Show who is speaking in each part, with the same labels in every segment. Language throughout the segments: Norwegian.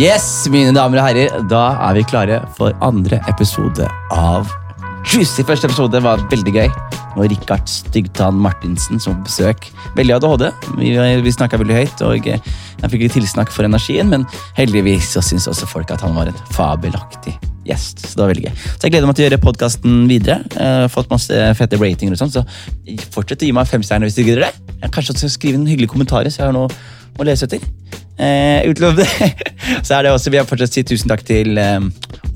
Speaker 1: Yes, mine damer og herrer, da er vi klare for andre episode av Juicy. Første episode var veldig gøy. Og Rikard Styggtann Martinsen som var på besøk. Veldig ADHD. Vi, vi snakka veldig høyt, og eh, jeg fikk litt tilsnakk for energien, men heldigvis så syns også folk at han var en fabelaktig gjest. Så det var veldig gøy. Så jeg gleder meg til å gjøre podkasten videre. Jeg har fått masse fete ratinger og sånn, så fortsett å gi meg fem stjerner hvis du gidder det. Jeg kanskje også skrive en hyggelig kommentar, så jeg har noe å lese etter. Eh, utenom det, så er det også, Vi har fortsatt si tusen takk til eh,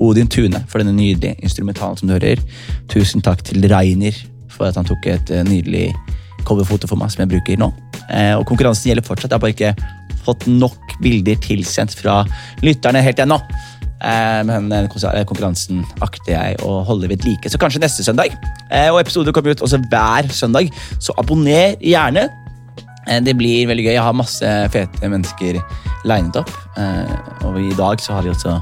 Speaker 1: Odin Tune for denne nydelige instrumentalen som du hører. Tusen takk til Reiner for at han tok et eh, nydelig coverfoto for meg som jeg bruker nå. Eh, og konkurransen gjelder fortsatt. Jeg har bare ikke fått nok bilder tilsendt fra lytterne helt ennå. Eh, men den konser- eh, konkurransen akter jeg å holde ved like. Så kanskje neste søndag. Eh, og episoder kommer ut også hver søndag, så abonner gjerne. Eh, Det blir veldig gøy. Jeg har masse fete mennesker linet opp. Eh, Og i dag så har vi også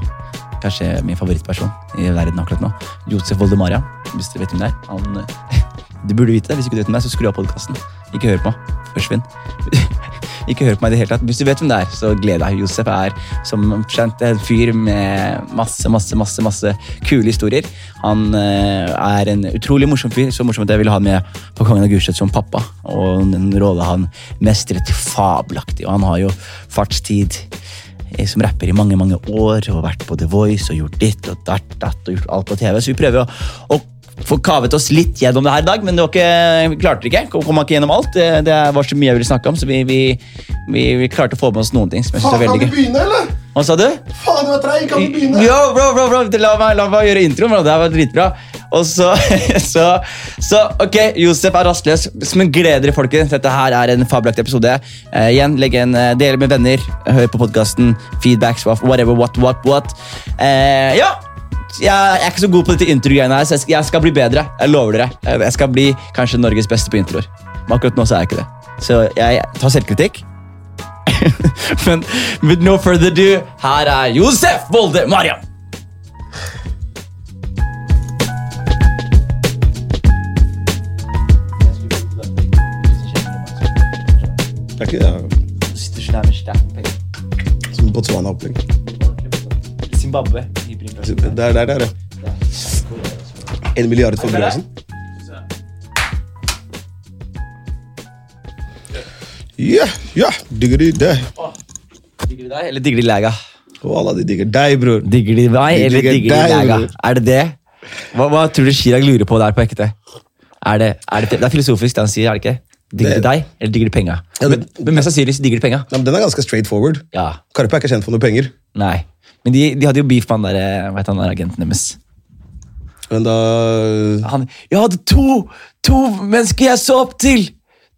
Speaker 1: kanskje min favorittperson i verden akkurat nå. Josef Voldemaria. Hvis du vet hvem det er. Han, eh, du burde vite det. Hvis du ikke vet hvem det er, så skru av podkasten. Ikke hør på. Forsvinn. Ikke hør på meg i det hele tatt. Hvis du vet hvem det er, så gled deg. Josef er som kjent en fyr med masse, masse, masse masse kule historier. Han eh, er en utrolig morsom fyr, så morsom at jeg ville ha han med på Kongen av Gulset som pappa. Og den rolle han mestret fabelaktig. Og han har jo fartstid eh, som rapper i mange mange år og vært på The Voice og gjort ditt og datt, datt og gjort alt på TV. Så vi prøver å, å få kavet oss litt gjennom det her i dag, men det var ikke, vi klarte det ikke. Kom, kom ikke gjennom alt. Det, det var så mye jeg ville snakke om, så vi, vi, vi, vi klarte å få med oss noen ting. som jeg synes
Speaker 2: Faen,
Speaker 1: var
Speaker 2: kan vi
Speaker 1: veldig gøy.
Speaker 2: begynne, eller?
Speaker 1: Hva sa du?
Speaker 2: Faen, du er treig. Kan vi begynne?
Speaker 1: Yo, bro, bro, bro, la meg, la meg gjøre introen, bro. Det her var dritbra. Og så, så, så Ok, Josef er rastløs. Men gled dere, folkens. Dette her er en fabelaktig episode. Eh, igjen, legg en eh, del med venner. Hør på podkasten. Feedbacks, what- whatever, what, what, what. Eh, ja! Jeg er ikke så god på dette intro-greiene her, så jeg skal, jeg skal bli bedre. Jeg lover dere. Eh, Jeg skal bli kanskje Norges beste på introer. Men akkurat nå så er jeg ikke det. Så jeg tar selvkritikk. Men with no further ado, her er Josef Volde Mariam.
Speaker 2: Det er ikke det. Som Botswana-opplegg.
Speaker 1: Zimbabwe.
Speaker 2: Der, der, der, ja. En milliard for Brønnøysund. Ja, ja. Digger de deg.
Speaker 1: Digger de deg, eller digger de læga?
Speaker 2: Og alle de digger deg, bror.
Speaker 1: Digger de meg,
Speaker 2: eller digger de læga?
Speaker 1: Er det det? Hva, hva tror du Chirag lurer på der på ekte? Er det, er det, det er filosofisk, det han sier. er det ikke? Digger de deg, eller digger de penga?
Speaker 2: Ja,
Speaker 1: Men,
Speaker 2: det-
Speaker 1: men mest sannsynlig så digger de penga.
Speaker 2: Ja, men den er ganske straight forward.
Speaker 1: Ja,
Speaker 2: Karpe er ikke kjent for noe penger.
Speaker 1: nei. Men de, de hadde jo beef med han der, eh, hva heter han der agenten deres.
Speaker 2: Men da
Speaker 1: Han, jeg hadde to, to mennesker jeg så opp til!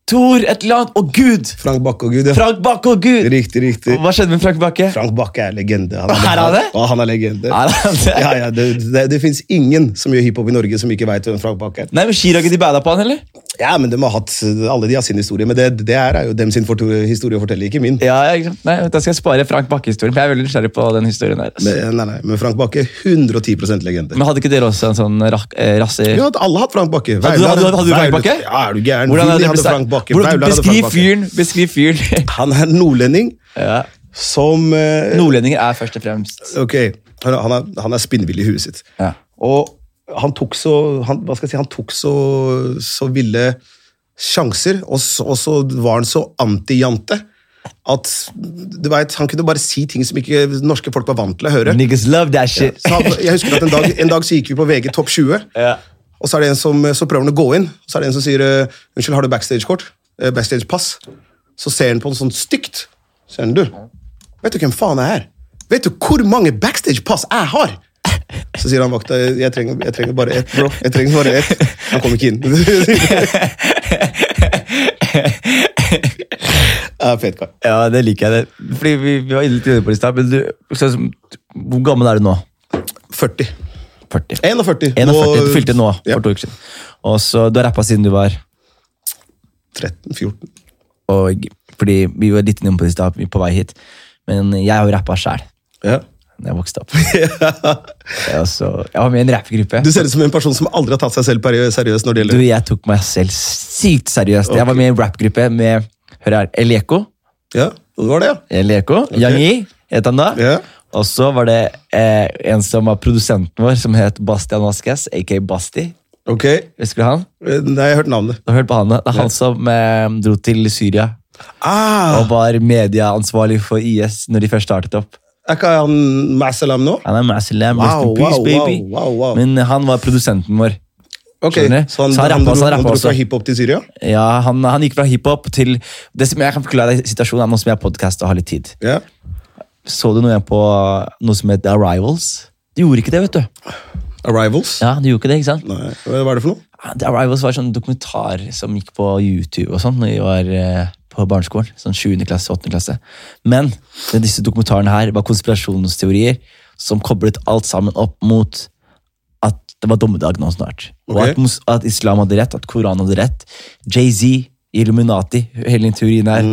Speaker 1: Tor et eller annet og Gud!
Speaker 2: Frank Bakke og Gud, ja.
Speaker 1: Frank Bakke og Gud!
Speaker 2: Riktig, riktig.
Speaker 1: Hva skjedde med Frank Bakke?
Speaker 2: Frank Bakke er legende. Han
Speaker 1: Er han det?
Speaker 2: Ja, han er legende.
Speaker 1: Er han det?
Speaker 2: Ja, ja, det det, det fins ingen som gjør hiphop i Norge som ikke veit hvem Frank Bakke er.
Speaker 1: Nei, men Chirag de bada på han, eller?
Speaker 2: Ja, men de har hatt, Alle de har sin historie, men det, det her er jo dem sin forto- historie å fortelle, ikke min.
Speaker 1: Ja, ja, ikke sant? Nei, Da skal jeg spare Frank Bakke-historien, for jeg er veldig nysgjerrig på den historien der. altså.
Speaker 2: Men, nei, nei, men Frank Bakke 110 legende.
Speaker 1: Men hadde ikke dere også en sånn rak, eh, rasse...
Speaker 2: Ja, hadde alle hatt Frank Bakke.
Speaker 1: Hadde, hadde, hadde, hadde du Frank
Speaker 2: Veilar-
Speaker 1: Bakke?
Speaker 2: Ja, er du gæren?
Speaker 1: Hvordan hadde
Speaker 2: Willy
Speaker 1: det
Speaker 2: hadde
Speaker 1: blitt-
Speaker 2: Frank Bakke.
Speaker 1: Hvordan,
Speaker 2: Veilar hadde Frank
Speaker 1: beskriv
Speaker 2: Bakke.
Speaker 1: fyren! Beskriv fyren!
Speaker 2: Han er nordlending
Speaker 1: ja.
Speaker 2: som eh,
Speaker 1: Nordlendinger er først og fremst
Speaker 2: Ok, han, han, er, han er spinnvill i huet sitt.
Speaker 1: Ja.
Speaker 2: Og han tok så han, Hva skal jeg si, han tok så, så ville sjanser, og så, og så var han så anti-jante at du vet, han kunne bare si ting som ikke norske folk var vant til å høre.
Speaker 1: Niggas love that shit.
Speaker 2: Så han, jeg husker at en dag, en dag så gikk vi på VG Topp 20,
Speaker 1: Ja.
Speaker 2: og så er det en som så prøver han å gå inn. Og så er det en som sier eh, 'Unnskyld, har du backstage-kort? Eh, Backstage-pass?' Så ser han på den sånn stygt. Så sier han, du, vet du hvem faen jeg er? Vet du hvor mange backstage-pass jeg har? Så sier han vakta, jeg trenger, jeg trenger bare ett, bro. Jeg trenger bare ett. Han kom ikke inn. ja, fet kar.
Speaker 1: ja, det liker jeg. det. Fordi Vi, vi var inne litt inne på det i stad, men du, sånn som- hvor gammel er du nå?
Speaker 2: 40.
Speaker 1: 40.
Speaker 2: 41.
Speaker 1: 41, du fylte nå
Speaker 2: Ja,
Speaker 1: for to uker siden. Og så, Du har rappa siden du var
Speaker 2: 13-14.
Speaker 1: og, Fordi Vi var litt inne på det i stad, vi er på vei hit. Men jeg har jo rappa sjæl
Speaker 2: Ja.
Speaker 1: da jeg vokste opp. Jeg, også, jeg var med i en rappegruppe.
Speaker 2: Du ser ut som en person som aldri har tatt seg selv peri- seriøst når det
Speaker 1: Du,
Speaker 2: gjelder
Speaker 1: jeg tok meg selv sykt seriøst. Jeg var med i en rappgruppe med hør her, Eleko.
Speaker 2: Ja, det var det, ja.
Speaker 1: Eleko. Yang Yi het han da.
Speaker 2: Ja.
Speaker 1: Og så var det eh, en som var produsenten vår, som het Bastian Vasquez, aka Basti.
Speaker 2: Ok,
Speaker 1: Husker du han?
Speaker 2: eh, Nei, jeg har hørt navnet.
Speaker 1: Du har hørt på han, da? Det er han som eh, dro til Syria
Speaker 2: Ah,
Speaker 1: og var medieansvarlig for IS når de først startet opp.
Speaker 2: er ikke han Ma'asalam nå?
Speaker 1: Han er Muslim, rest
Speaker 2: Wow,
Speaker 1: in peace,
Speaker 2: wow,
Speaker 1: baby.
Speaker 2: wow, wow, wow.
Speaker 1: Men han var produsenten vår.
Speaker 2: Ok,
Speaker 1: Skjønner du?
Speaker 2: Så han,
Speaker 1: Så han
Speaker 2: han,
Speaker 1: rappa,
Speaker 2: dro,
Speaker 1: så han
Speaker 2: han
Speaker 1: rappa
Speaker 2: dro fra
Speaker 1: også.
Speaker 2: hiphop til Syria?
Speaker 1: Ja, han, han gikk fra hiphop til det som Jeg kan forklare deg situasjonen er nå som jeg har podkast og har litt tid.
Speaker 2: Ja.
Speaker 1: Så du noe på noe som het Arrivals? De gjorde ikke det, vet du.
Speaker 2: Arrivals?
Speaker 1: Ja, de gjorde ikke det, ikke sant?
Speaker 2: Nei, hva er det for noe?
Speaker 1: Ja, The Arrivals var sånn dokumentar som gikk på YouTube og sånn når vi var eh, på barneskolen. Sånn 7. klasse, 8. klasse. Men det- disse dokumentarene her var konspirasjonsteorier som koblet alt sammen opp mot at det var dommedag nå snart. Og
Speaker 2: Ok.
Speaker 1: at, mus- at islam hadde rett, at Koranen hadde rett. Jay-Z, Illuminati, hele den teorien her.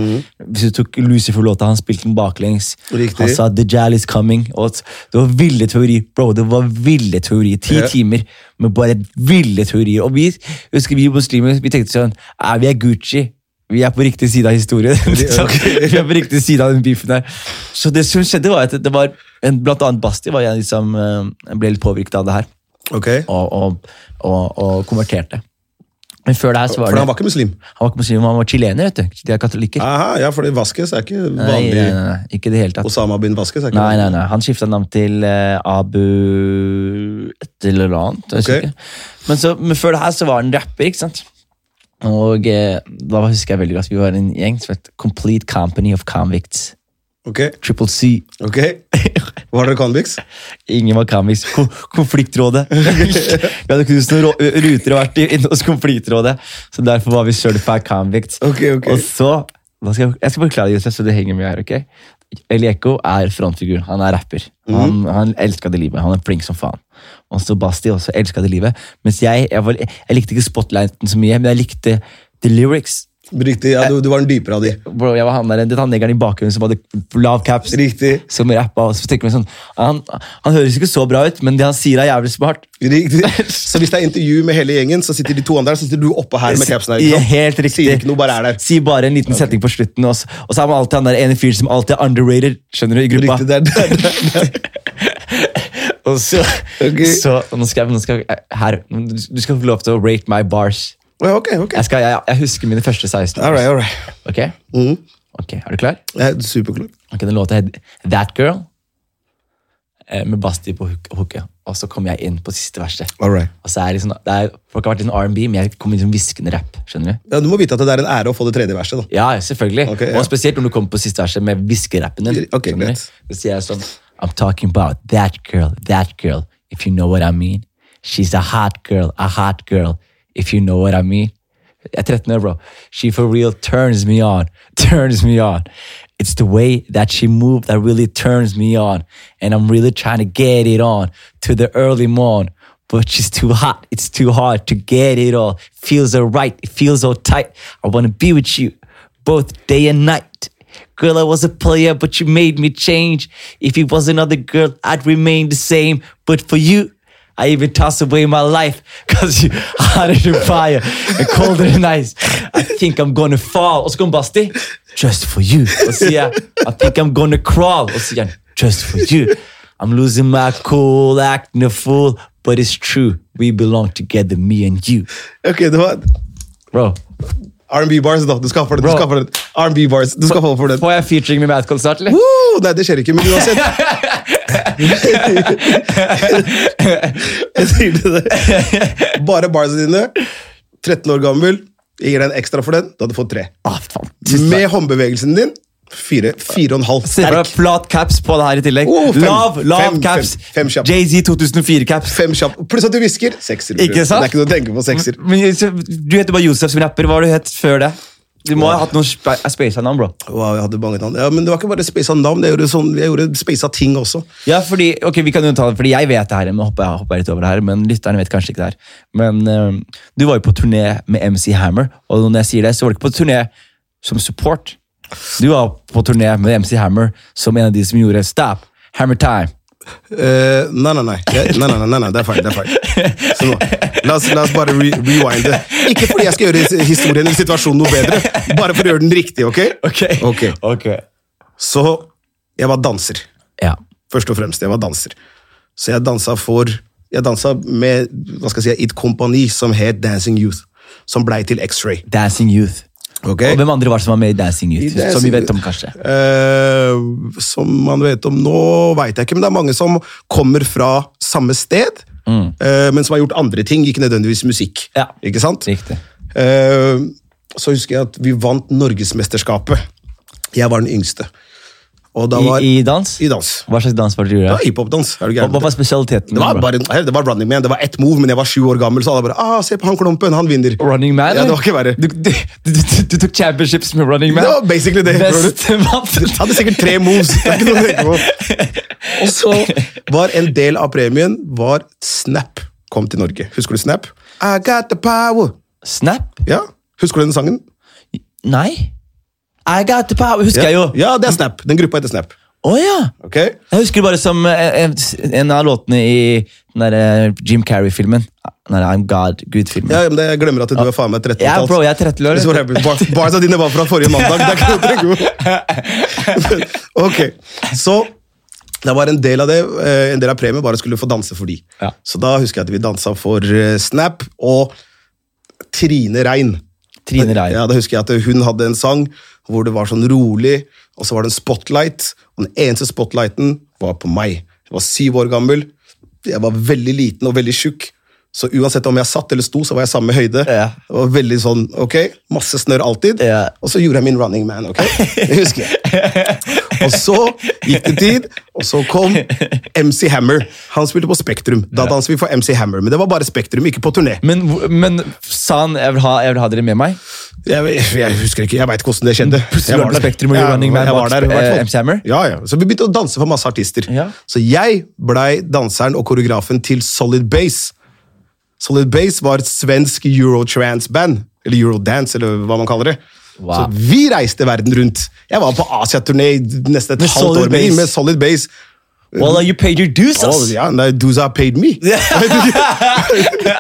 Speaker 1: Hvis du tok Lucifer-låta, han spilte den baklengs.
Speaker 2: Riktig.
Speaker 1: Han sa The Jal is coming. Og at det var ville teori, bro. Det var ville teori. Ti
Speaker 2: Ja.
Speaker 1: timer med bare ville teorier. Og vi husker vi muslimer vi tenkte sånn «Ah, Vi er Gucci. Vi er på riktig side av historien. Så, vi er på riktig side av den beefen der. Så det som skjedde, var at det var en, Blant annet Basti var en som eh, ble litt påvirket av det her.
Speaker 2: Ok,
Speaker 1: Og, og, og, og konverterte. Men før det her så var
Speaker 2: For
Speaker 1: det,
Speaker 2: han var ikke muslim?
Speaker 1: han var ikke muslim, han var chilener. vet du. De er katolikker.
Speaker 2: Aha, ja, fordi Vasquez er ikke
Speaker 1: Nei,
Speaker 2: Ah, vanlig.
Speaker 1: nei, nei, nei, ikke i det hele tatt.
Speaker 2: Osama bin Vasquez er ikke
Speaker 1: Nei,
Speaker 2: vanlig.
Speaker 1: nei, nei. Han skifta navn til eh, Abu et eller annet. Jeg husker
Speaker 2: Ok.
Speaker 1: ikke. Men, så, men før det her så var han rapper, ikke sant? Og eh, da husker jeg veldig godt vi var en gjeng som het Complete Company of Convicts.
Speaker 2: Ok,
Speaker 1: Triple C.
Speaker 2: ok. Var dere convicts?
Speaker 1: Ingen var convicts. Ko konfliktrådet. vi hadde knust noen rå- ruter og vært inne hos Konfliktrådet, så derfor var vi certified convicts.
Speaker 2: Ok, ok.
Speaker 1: Og så hva skal jeg, jeg skal forklare det, Josef, så du henger med her. ok? Elieko er frontfiguren. Han er rapper.
Speaker 2: Mhm.
Speaker 1: Han, han elska det livet. Han er flink som faen. Og så Basti også elska det livet. Mens jeg jeg, var, jeg likte ikke spotlighten så mye, men jeg likte the lyrics.
Speaker 2: Riktig, ja, du, du var den dypere av de.
Speaker 1: Bro, jeg var han der, den tannlegeren i bakgrunnen som hadde lav caps.
Speaker 2: Riktig.
Speaker 1: Som rappa. Og så tenker jeg meg sånn, han, han høres ikke så bra ut, men det han sier, er jævlig smart.
Speaker 2: Riktig. Så hvis det er intervju med hele gjengen, så sitter de to andre der, så sitter du oppå her med capsen. her, ikke
Speaker 1: Ja,
Speaker 2: sant?
Speaker 1: Helt riktig.
Speaker 2: Sier ikke noe, bare er der.
Speaker 1: Si bare en liten setning på slutten, og så, og så er man alltid han der ene fyren som alltid er underrated, skjønner du, i gruppa.
Speaker 2: Riktig, det er der, der, der.
Speaker 1: Og så,
Speaker 2: Ok.
Speaker 1: så nå skal, jeg- nå skal, jeg- her, du du skal få lov til å rate my bars.
Speaker 2: Ja, Ok, ok.
Speaker 1: Jeg, skal, jeg, jeg husker mine første 16.
Speaker 2: All right, all right.
Speaker 1: Ok?
Speaker 2: Mm-hmm.
Speaker 1: Ok, Er du klar?
Speaker 2: Jeg er superklar.
Speaker 1: Ok, Den låta het That Girl, eh, med Basti på hook- hooket. Og så kom jeg inn på siste verset.
Speaker 2: All right.
Speaker 1: Og så er det liksom, det er, Folk har vært litt sånn R&B, men jeg kom inn som hviskende rap. skjønner du?
Speaker 2: Ja, du må vite at det er en ære å få det tredje verset. da.
Speaker 1: Ja, selvfølgelig.
Speaker 2: Ok, ja.
Speaker 1: Og spesielt når du kommer på siste verset med hviskerappen din.
Speaker 2: Ok,
Speaker 1: Skjønner du?
Speaker 2: greit.
Speaker 1: Så sier jeg sånn I'm talking about that girl, that girl, if you know what I mean. She's a hot girl, a hot girl, if you know what I mean. Jeg er 13 år, bro. She for real turns me on, turns me on. It's the way that she moved that really turns me on. And I'm really trying to get it on to the early morn. But she's too hot, it's too hard to get it all. Feels so right, it feels so tight. I wanna be with you both day and night. Girl, I was a player, but you made me change. If it was another girl, I'd remain the same. But for you, I even tossed away my life because you hotter than fire and colder than ice. I think I'm gonna fall. Og så kom Basti. Just for you. Og så sier jeg, I think I'm gonna crawl. Og så sier han, just for you. I'm losing my cool, acting a fool, but it's true. We belong together, me and you.
Speaker 2: Ok, det var
Speaker 1: Bro,
Speaker 2: R&B-bars, da. Du skal få det. du
Speaker 1: Bro.
Speaker 2: skal få det. R&B-bars, du skal få for det.
Speaker 1: får jeg featuring med Madcon snart, eller?
Speaker 2: Woo! Nei, det skjer ikke, men uansett. jeg sier til deg. Bare barsa dine. 13 år gammel. Jeg gir deg en ekstra for den. Du hadde fått tre.
Speaker 1: Ah, faen. Tusen takk.
Speaker 2: Med håndbevegelsen din. Fire, fire og en halv.
Speaker 1: Se for deg
Speaker 2: Sterk.
Speaker 1: flat caps på det her i tillegg.
Speaker 2: Oh, fem-
Speaker 1: lav lav
Speaker 2: fem-
Speaker 1: caps.
Speaker 2: fem- fem kjappe.
Speaker 1: Jay-Z 2004-caps.
Speaker 2: Fem kjapp. Pluss at du hvisker. Sekser. bror.
Speaker 1: Ikke sant?
Speaker 2: Det er ikke noe å tenke på. Sekser.
Speaker 1: Men så- Du heter bare Josef som rapper. Hva har du hett før det? Du må ha hatt noen spa- space navn, bro.
Speaker 2: Wow, jeg hadde mange navn. Ja, men det var ikke bare spasa navn. Jeg gjorde, sånn, jeg gjorde spasa ting også.
Speaker 1: Ja, fordi, ok, vi kan jo ta det, fordi jeg vet det her, men hopper, jeg hopper litt over det her, men lytterne vet kanskje ikke det her. Men eh, du var jo på turné med MC Hammer, og når jeg sier det, så var du ikke på turné som support. Du var på turné med MC Hammer som en av de som gjorde Stop, Hammer Time.
Speaker 2: Eh, nei, nei, nei. Jeg, nei, nei, nei, nei, nei. Det er feil. det er feil. Så nå, la, oss, la oss bare re rewinde. Ikke fordi jeg skal gjøre his- historien eller situasjonen noe bedre, bare for å gjøre den riktig. ok?
Speaker 1: Ok.
Speaker 2: Ok.
Speaker 1: Ok.
Speaker 2: Så jeg var danser.
Speaker 1: Ja.
Speaker 2: først og fremst. Jeg var danser. Så jeg dansa for Jeg dansa med hva skal jeg si, et kompani som het Dancing Youth, som blei til X-Ray.
Speaker 1: Dancing Youth.
Speaker 2: Ok?
Speaker 1: Og hvem andre var det som var med i Dancing Youth?
Speaker 2: Eh, I Dancing
Speaker 1: som vi vet
Speaker 2: Youth.
Speaker 1: om, kanskje.
Speaker 2: Eh, som man vet om nå, veit jeg ikke, men det er mange som kommer fra samme sted, eh, men som har gjort andre ting, ikke nødvendigvis musikk.
Speaker 1: Mm. Ja.
Speaker 2: Ikke sant?
Speaker 1: Riktig.
Speaker 2: Eh, så husker jeg at vi vant Norgesmesterskapet. Jeg var den yngste. Og da
Speaker 1: I,
Speaker 2: var
Speaker 1: I dans?
Speaker 2: i dans.
Speaker 1: Hva slags dans var det du
Speaker 2: Det
Speaker 1: gjorde?
Speaker 2: var hiphop-dans. er du
Speaker 1: Hva,
Speaker 2: gæren?
Speaker 1: hva var spesialiteten?
Speaker 2: Det var,
Speaker 1: bro?
Speaker 2: bare, det var running man, det var ett move, men jeg var sju år gammel, så alle bare ah, 'Se på han klumpen, han vinner'.
Speaker 1: Running Man?
Speaker 2: Ja, det
Speaker 1: eller?
Speaker 2: var ikke verre.
Speaker 1: Du, du, du, du, du tok championships med Running Man?
Speaker 2: Det var basically det, bror. Jeg
Speaker 1: Bestemann!
Speaker 2: hadde sikkert tre moves. Det er ikke noe å tenke på. Og så var en del av premien var Snap kom til Norge. Husker du Snap? I got the power.
Speaker 1: Snap?
Speaker 2: Ja, Husker du den sangen?
Speaker 1: Nei. I got the power, husker
Speaker 2: Ja,
Speaker 1: jeg jo. Å
Speaker 2: ja det er Snap. Den gruppa heter Snap.
Speaker 1: ja!
Speaker 2: Ok?
Speaker 1: Jeg husker det bare som eh, en, en av låtene i den der eh, Jim Carrey-filmen. Den der I'm God, Gud-filmen.
Speaker 2: Ja, men det, Jeg glemmer at du er faen meg 13
Speaker 1: Ja, bro, jeg er 13 år.
Speaker 2: Bar, barsa dine var fra forrige mandag. Det er ikke noe å tenke på. Ok, så det var en del av det, eh, en del av premien bare skulle få danse for de.
Speaker 1: Ja.
Speaker 2: Så da husker jeg at vi dansa for eh, Snap og Trine Rein.
Speaker 1: Trine Rein.
Speaker 2: Ja, da husker jeg at hun hadde en sang hvor det var sånn rolig, og så var det en spotlight, og den eneste spotlighten var på meg. Jeg var syv år gammel, jeg var veldig liten og veldig tjukk, så uansett om jeg satt eller sto, så var jeg samme høyde.
Speaker 1: Ja.
Speaker 2: Det var veldig sånn, ok, masse snørr alltid,
Speaker 1: Ja.
Speaker 2: og så gjorde jeg min running man, ok? Det husker jeg. Og så gikk det tid, og så kom MC Hammer. Han spilte på Spektrum. Da danset vi for MC Hammer, men det var bare Spektrum, ikke på turné.
Speaker 1: Men, hvor- men sa han jeg vil, ha, 'jeg vil ha dere med meg'?
Speaker 2: Jeg, jeg husker ikke, jeg veit ikke hvordan det skjedde.
Speaker 1: Plutselig
Speaker 2: Jeg
Speaker 1: var det Spektrum og Running Man
Speaker 2: jeg
Speaker 1: bak,
Speaker 2: var der, i hvert
Speaker 1: eh,
Speaker 2: fall.
Speaker 1: MC Hammer?
Speaker 2: Ja, ja. Så vi begynte å danse for masse artister.
Speaker 1: Ja.
Speaker 2: Så jeg blei danseren og koreografen til Solid Base. Solid Base var et svensk eurotrance-band, eller eurodance, eller hva man kaller det.
Speaker 1: Wow.
Speaker 2: Så vi reiste verden rundt. Jeg var på Asia-turné i nesten et
Speaker 1: Med
Speaker 2: halvt
Speaker 1: Solid
Speaker 2: år med,
Speaker 1: Base.
Speaker 2: med Solid Base.
Speaker 1: Well, you paid your dues,
Speaker 2: Oh,
Speaker 1: ass!
Speaker 2: ja, nei, Duza paid me.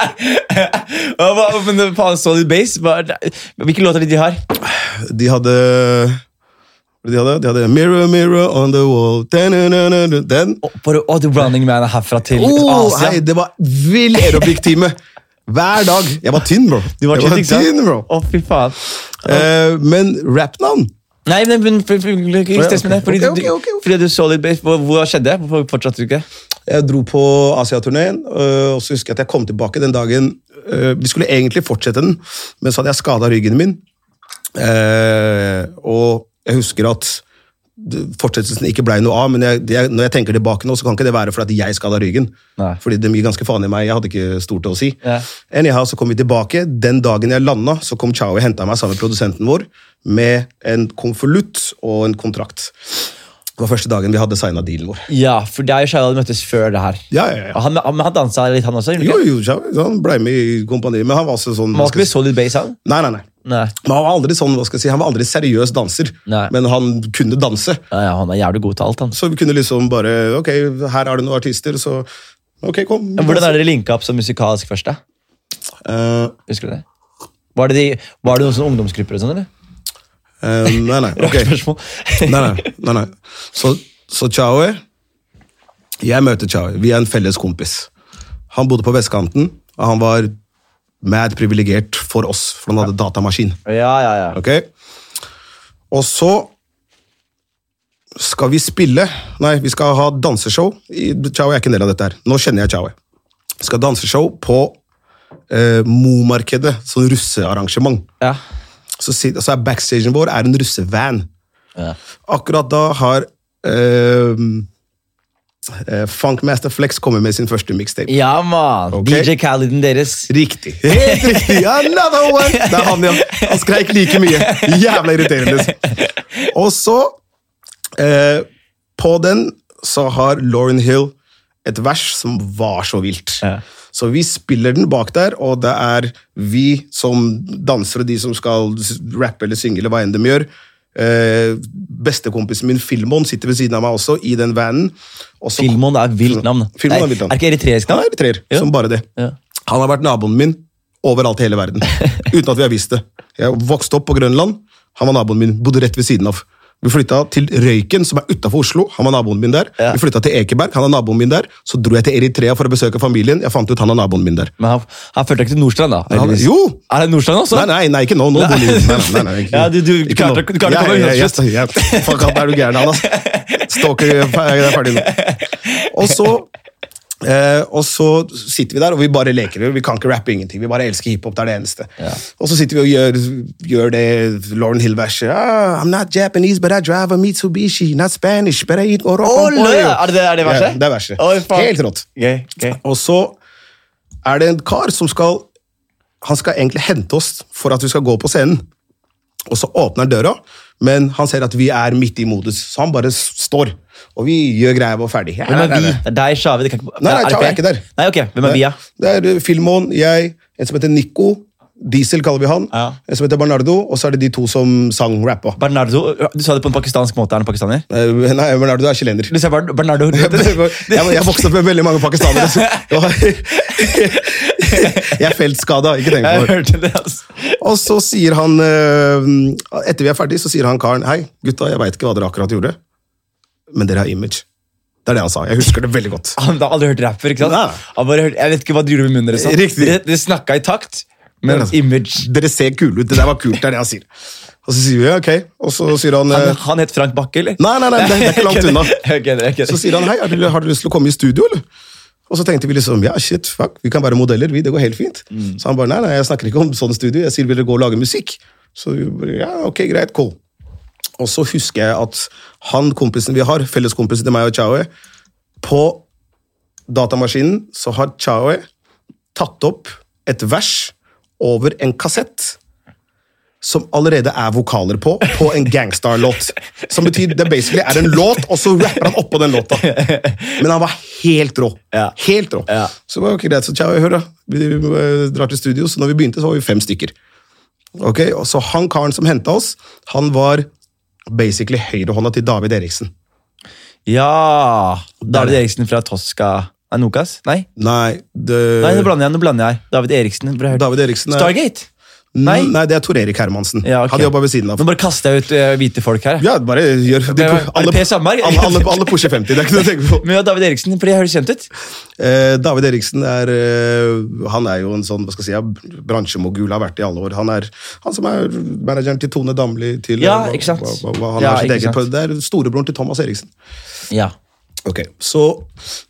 Speaker 1: Ja, hva- Men eh, faen, Solid Base hva er det- Hvilke låter er det de har?
Speaker 2: De hadde de hadde, de hadde Mirror, mirror on the wall Den, den.
Speaker 1: Bare, å, The Running Man er herfra til
Speaker 2: Oh,
Speaker 1: Asia.
Speaker 2: hei, det var vill aerobic-time. Hver dag. Jeg var tynn, bro.
Speaker 1: Du var
Speaker 2: jeg
Speaker 1: tynn, ikke sant?
Speaker 2: tynn, bro.
Speaker 1: Å, fy faen.
Speaker 2: Eh, men rap-navn?
Speaker 1: Nei, men, men for, for, ikke stress med det. Fordi,
Speaker 2: Ok, ok,
Speaker 1: du-
Speaker 2: ok, ok.
Speaker 1: fordi du så litt base. Hva, hva skjedde? Hvorfor fortsatte du ikke?
Speaker 2: Jeg dro på Asia-turneen, øh, og så husker jeg at jeg kom tilbake den dagen. øh, Vi skulle egentlig fortsette den, men så hadde jeg skada ryggen min. Eh, Og jeg husker at det- fortsettelsen ikke blei noe av, men jeg, jeg, når jeg tenker tilbake nå, så kan ikke det være fordi at jeg skada ryggen.
Speaker 1: Nei.
Speaker 2: Fordi det gir ganske faen i meg, jeg hadde ikke stort å si.
Speaker 1: Ja.
Speaker 2: Anyhow, så kom vi tilbake. Den dagen jeg landa, så kom Chao og henta meg sammen med produsenten vår med en konvolutt og en kontrakt. Det var første dagen vi hadde signa dealen vår.
Speaker 1: Ja, for det er jo Shia hadde møttes før det her.
Speaker 2: Ja, ja, ja.
Speaker 1: Og Han, han, han dansa litt, han også? gjorde
Speaker 2: Jo,
Speaker 1: han ikke?
Speaker 2: jo, Chavez, han ble med i kompaniet, men han var også sånn
Speaker 1: Han
Speaker 2: hva
Speaker 1: var ikke
Speaker 2: skal
Speaker 1: med Solid Base, han?
Speaker 2: jeg si- Nei, nei, nei.
Speaker 1: Nei.
Speaker 2: Men han var aldri sånn, hva skal jeg si, han var aldri seriøs danser,
Speaker 1: Nei.
Speaker 2: men han kunne danse.
Speaker 1: Ja, ja, han er jævlig god til alt, han.
Speaker 2: Så vi kunne liksom bare Ok, her er det noen artister, så Ok, kom.
Speaker 1: Men Hvordan er dere linka opp som musikalsk først? da?
Speaker 2: Eh,
Speaker 1: Husker du det? Var det, de, var det noen sånne ungdomsgrupper? og sånn, eller?
Speaker 2: eh, nei, nei. ok.
Speaker 1: Spørsmål.
Speaker 2: Nei, nei. nei, nei. Så, så Chaue Jeg møter Chaue. Vi er en felles kompis. Han bodde på vestkanten, og han var mad privilegert for oss, for han hadde datamaskin.
Speaker 1: Ja, ja, ja.
Speaker 2: Ok? Og så skal vi spille Nei, vi skal ha danseshow. i- Chaui er ikke en del av dette her. Nå kjenner jeg Chaui. Vi skal ha danseshow på eh, Momarkedet, sånn russearrangement.
Speaker 1: ja.
Speaker 2: Så, sit- så er backstagen vår er en russevan.
Speaker 1: Ja.
Speaker 2: Akkurat da har eh, eh, Funkmaster Flex kommet med sin første mixtape.
Speaker 1: ja man.
Speaker 2: Ok.
Speaker 1: DJ Khaleden deres.
Speaker 2: Riktig. Helt riktig. Another one! Det er han, ja. Han skreik like mye. Jævla irriterende. liksom. Og så eh, På den så har Lauren Hill et vers som var så vilt.
Speaker 1: Ja.
Speaker 2: Så vi spiller den bak der, og det er vi som dansere, de som skal s- rappe eller synge, eller hva enn de gjør. Eh, bestekompisen min Filmon sitter ved siden av meg også, i den vanen. Og så-
Speaker 1: Filmon er vilt navn.
Speaker 2: Filmon er
Speaker 1: Nei,
Speaker 2: vilt navn.
Speaker 1: Er ikke eritreisk
Speaker 2: han
Speaker 1: navn?
Speaker 2: er eritreer,
Speaker 1: Ja.
Speaker 2: som bare det.
Speaker 1: Ja.
Speaker 2: Han har vært naboen min overalt i hele verden, uten at vi har visst det. Jeg vokste opp på Grønland, han var naboen min, bodde rett ved siden av. Vi flytta til Røyken, som er utafor Oslo. Han var naboen min der. Vi flytta til Ekeberg, han er naboen min der. Så dro jeg til Eritrea for å besøke familien. Jeg fant ut han er naboen min der.
Speaker 1: Men han, han følte ikke til Nordstrand, da?
Speaker 2: Han,
Speaker 1: heldigvis.
Speaker 2: jo!
Speaker 1: Er det Nordstrand også?
Speaker 2: Nei, nei, nei, ikke nå. nå bor jeg- nei, nei, nei, nei, ikke-
Speaker 1: Ja, du- du
Speaker 2: ikke
Speaker 1: klarte-
Speaker 2: nå.
Speaker 1: du klarte å
Speaker 2: Ja,
Speaker 1: komme
Speaker 2: ja, ja,
Speaker 1: unna
Speaker 2: ja, ja. Fuck alt, er du gæren, han, altså. Stalker, jeg er ferdig nå. Og så Eh, og så sitter vi der, og vi bare leker. Vi kan ikke rappe ingenting. Vi bare elsker hiphop. Det er det eneste. Og så sitter vi og gjør, gjør det Lauren Hill-verset. Ah, I'm not Japanese, but I drive a Mitsubishi. Not Spanish, but I eat oro
Speaker 1: Å,
Speaker 2: con pollo.
Speaker 1: lø! Er det det- er det verset?
Speaker 2: Ja, det er verset.
Speaker 1: Oi, faen.
Speaker 2: Helt rått.
Speaker 1: Gøy, gøy.
Speaker 2: Og så er det en kar som skal Han skal egentlig hente oss for at vi skal gå på scenen. Og så åpner han døra, men han ser at vi er midt i modus, så han bare s- står. Og vi gjør greia vår ferdig. Ja,
Speaker 1: Hvem er
Speaker 2: nei,
Speaker 1: vi?
Speaker 2: nei,
Speaker 1: Det er deg, Shawi. det kan ikke-
Speaker 2: Nei, nei,
Speaker 1: Er det
Speaker 2: Shawi er
Speaker 1: flere?
Speaker 2: ikke der.
Speaker 1: Nei, ok, Hvem er vi, da?
Speaker 2: nei. Det er Filmon, jeg, en som heter Nico. Diesel kaller vi han.
Speaker 1: Ja.
Speaker 2: En som heter Bernardo, og så er det de to som sang rappa.
Speaker 1: Bernardo, du sa det på en pakistansk måte. Er han pakistaner?
Speaker 2: Eh, Nei, Bernardo er chilener.
Speaker 1: Du sa Bar- Bernardo
Speaker 2: jeg, jeg vokste opp med veldig mange pakistanere. Så det var- jeg er feltskada, ikke tenk på
Speaker 1: Jeg
Speaker 2: det.
Speaker 1: hørte det, altså.
Speaker 2: Og så sier han, eh, etter vi er ferdig, så sier han karen, hei, gutta, jeg vet ikke hva dere akkurat gjorde, men dere har image. Det er det han sa, jeg husker det veldig godt.
Speaker 1: Han har aldri hørt rapp før, ikke sant?
Speaker 2: Nei.
Speaker 1: Han bare hørte, jeg vet ikke hva du gjorde med munnen deres. sant?
Speaker 2: Riktig.
Speaker 1: Dere, dere snakka i takt, men
Speaker 2: Ja, altså.
Speaker 1: image
Speaker 2: Dere ser kule ut, det der var kult, det er det han sier. Og så sier vi, «Ja, ok, og så sier han,
Speaker 1: Han,
Speaker 2: eh,
Speaker 1: han het Frank Bakke, eller?
Speaker 2: nei, nei, nei, det er ikke langt unna.
Speaker 1: Jeg kødder, jeg kødder.
Speaker 2: Så sier han hei, har du, har du lyst til å komme i studio, eller? Og så tenkte vi liksom ja, shit, fuck, vi kan være modeller, vi, det går helt fint. Så han bare nei, nei, jeg snakker ikke om sånn studio, jeg sier vil dere gå og lage musikk? Så vi bare, ja, ok, greit, cool. Og så husker jeg at han kompisen vi har, felleskompisen til meg og Chaue, på datamaskinen så har Chaue tatt opp et vers over en kassett som allerede er vokaler på, på en gangstar-låt. Som betyr det basically er en låt, og så rapper han oppå den låta. Men han var helt rå.
Speaker 1: Ja.
Speaker 2: Helt rå.
Speaker 1: Ja.
Speaker 2: Så det var ok, greit, så tja, hør da. Vi eh, drar til studio, så når vi begynte, så var vi fem stykker. Ok, og Så han karen som henta oss, han var basically høyrehånda til David Eriksen.
Speaker 1: Ja David Eriksen fra Tosca Nei, Nokas? Nei,
Speaker 2: Nei, det,
Speaker 1: Nei nå blander jeg. nå blander jeg David Eriksen. Bra hørt.
Speaker 2: Øh. David Eriksen er-
Speaker 1: Stargate?
Speaker 2: nei.
Speaker 1: Nei.
Speaker 2: det er Tor Erik Hermansen.
Speaker 1: Ja, ok.
Speaker 2: Han jobba ved siden av.
Speaker 1: Nå bare kaster jeg ut eh, hvite folk her. jeg.
Speaker 2: Ja, bare gjør de,
Speaker 1: Men, er det
Speaker 2: alle,
Speaker 1: Per Sandberg?
Speaker 2: alle, alle, alle pusher 50, det er ikke noe å tenke på.
Speaker 1: Men ja, David Eriksen, for det høres kjent ut.
Speaker 2: Eh, David Eriksen er eh, Han er jo en sånn, hva skal jeg si, ja, bransjemogul, har vært i alle år. Han er han som er manageren til Tone Damli. Til, eh,
Speaker 1: Ja,
Speaker 2: hva-
Speaker 1: ikke sant.
Speaker 2: hva- hva- hva- Han
Speaker 1: Ja,
Speaker 2: har sitt
Speaker 1: ikke
Speaker 2: eget,
Speaker 1: sant.
Speaker 2: pro- det er storebroren til Thomas Eriksen.
Speaker 1: Ja.
Speaker 2: Ok, Så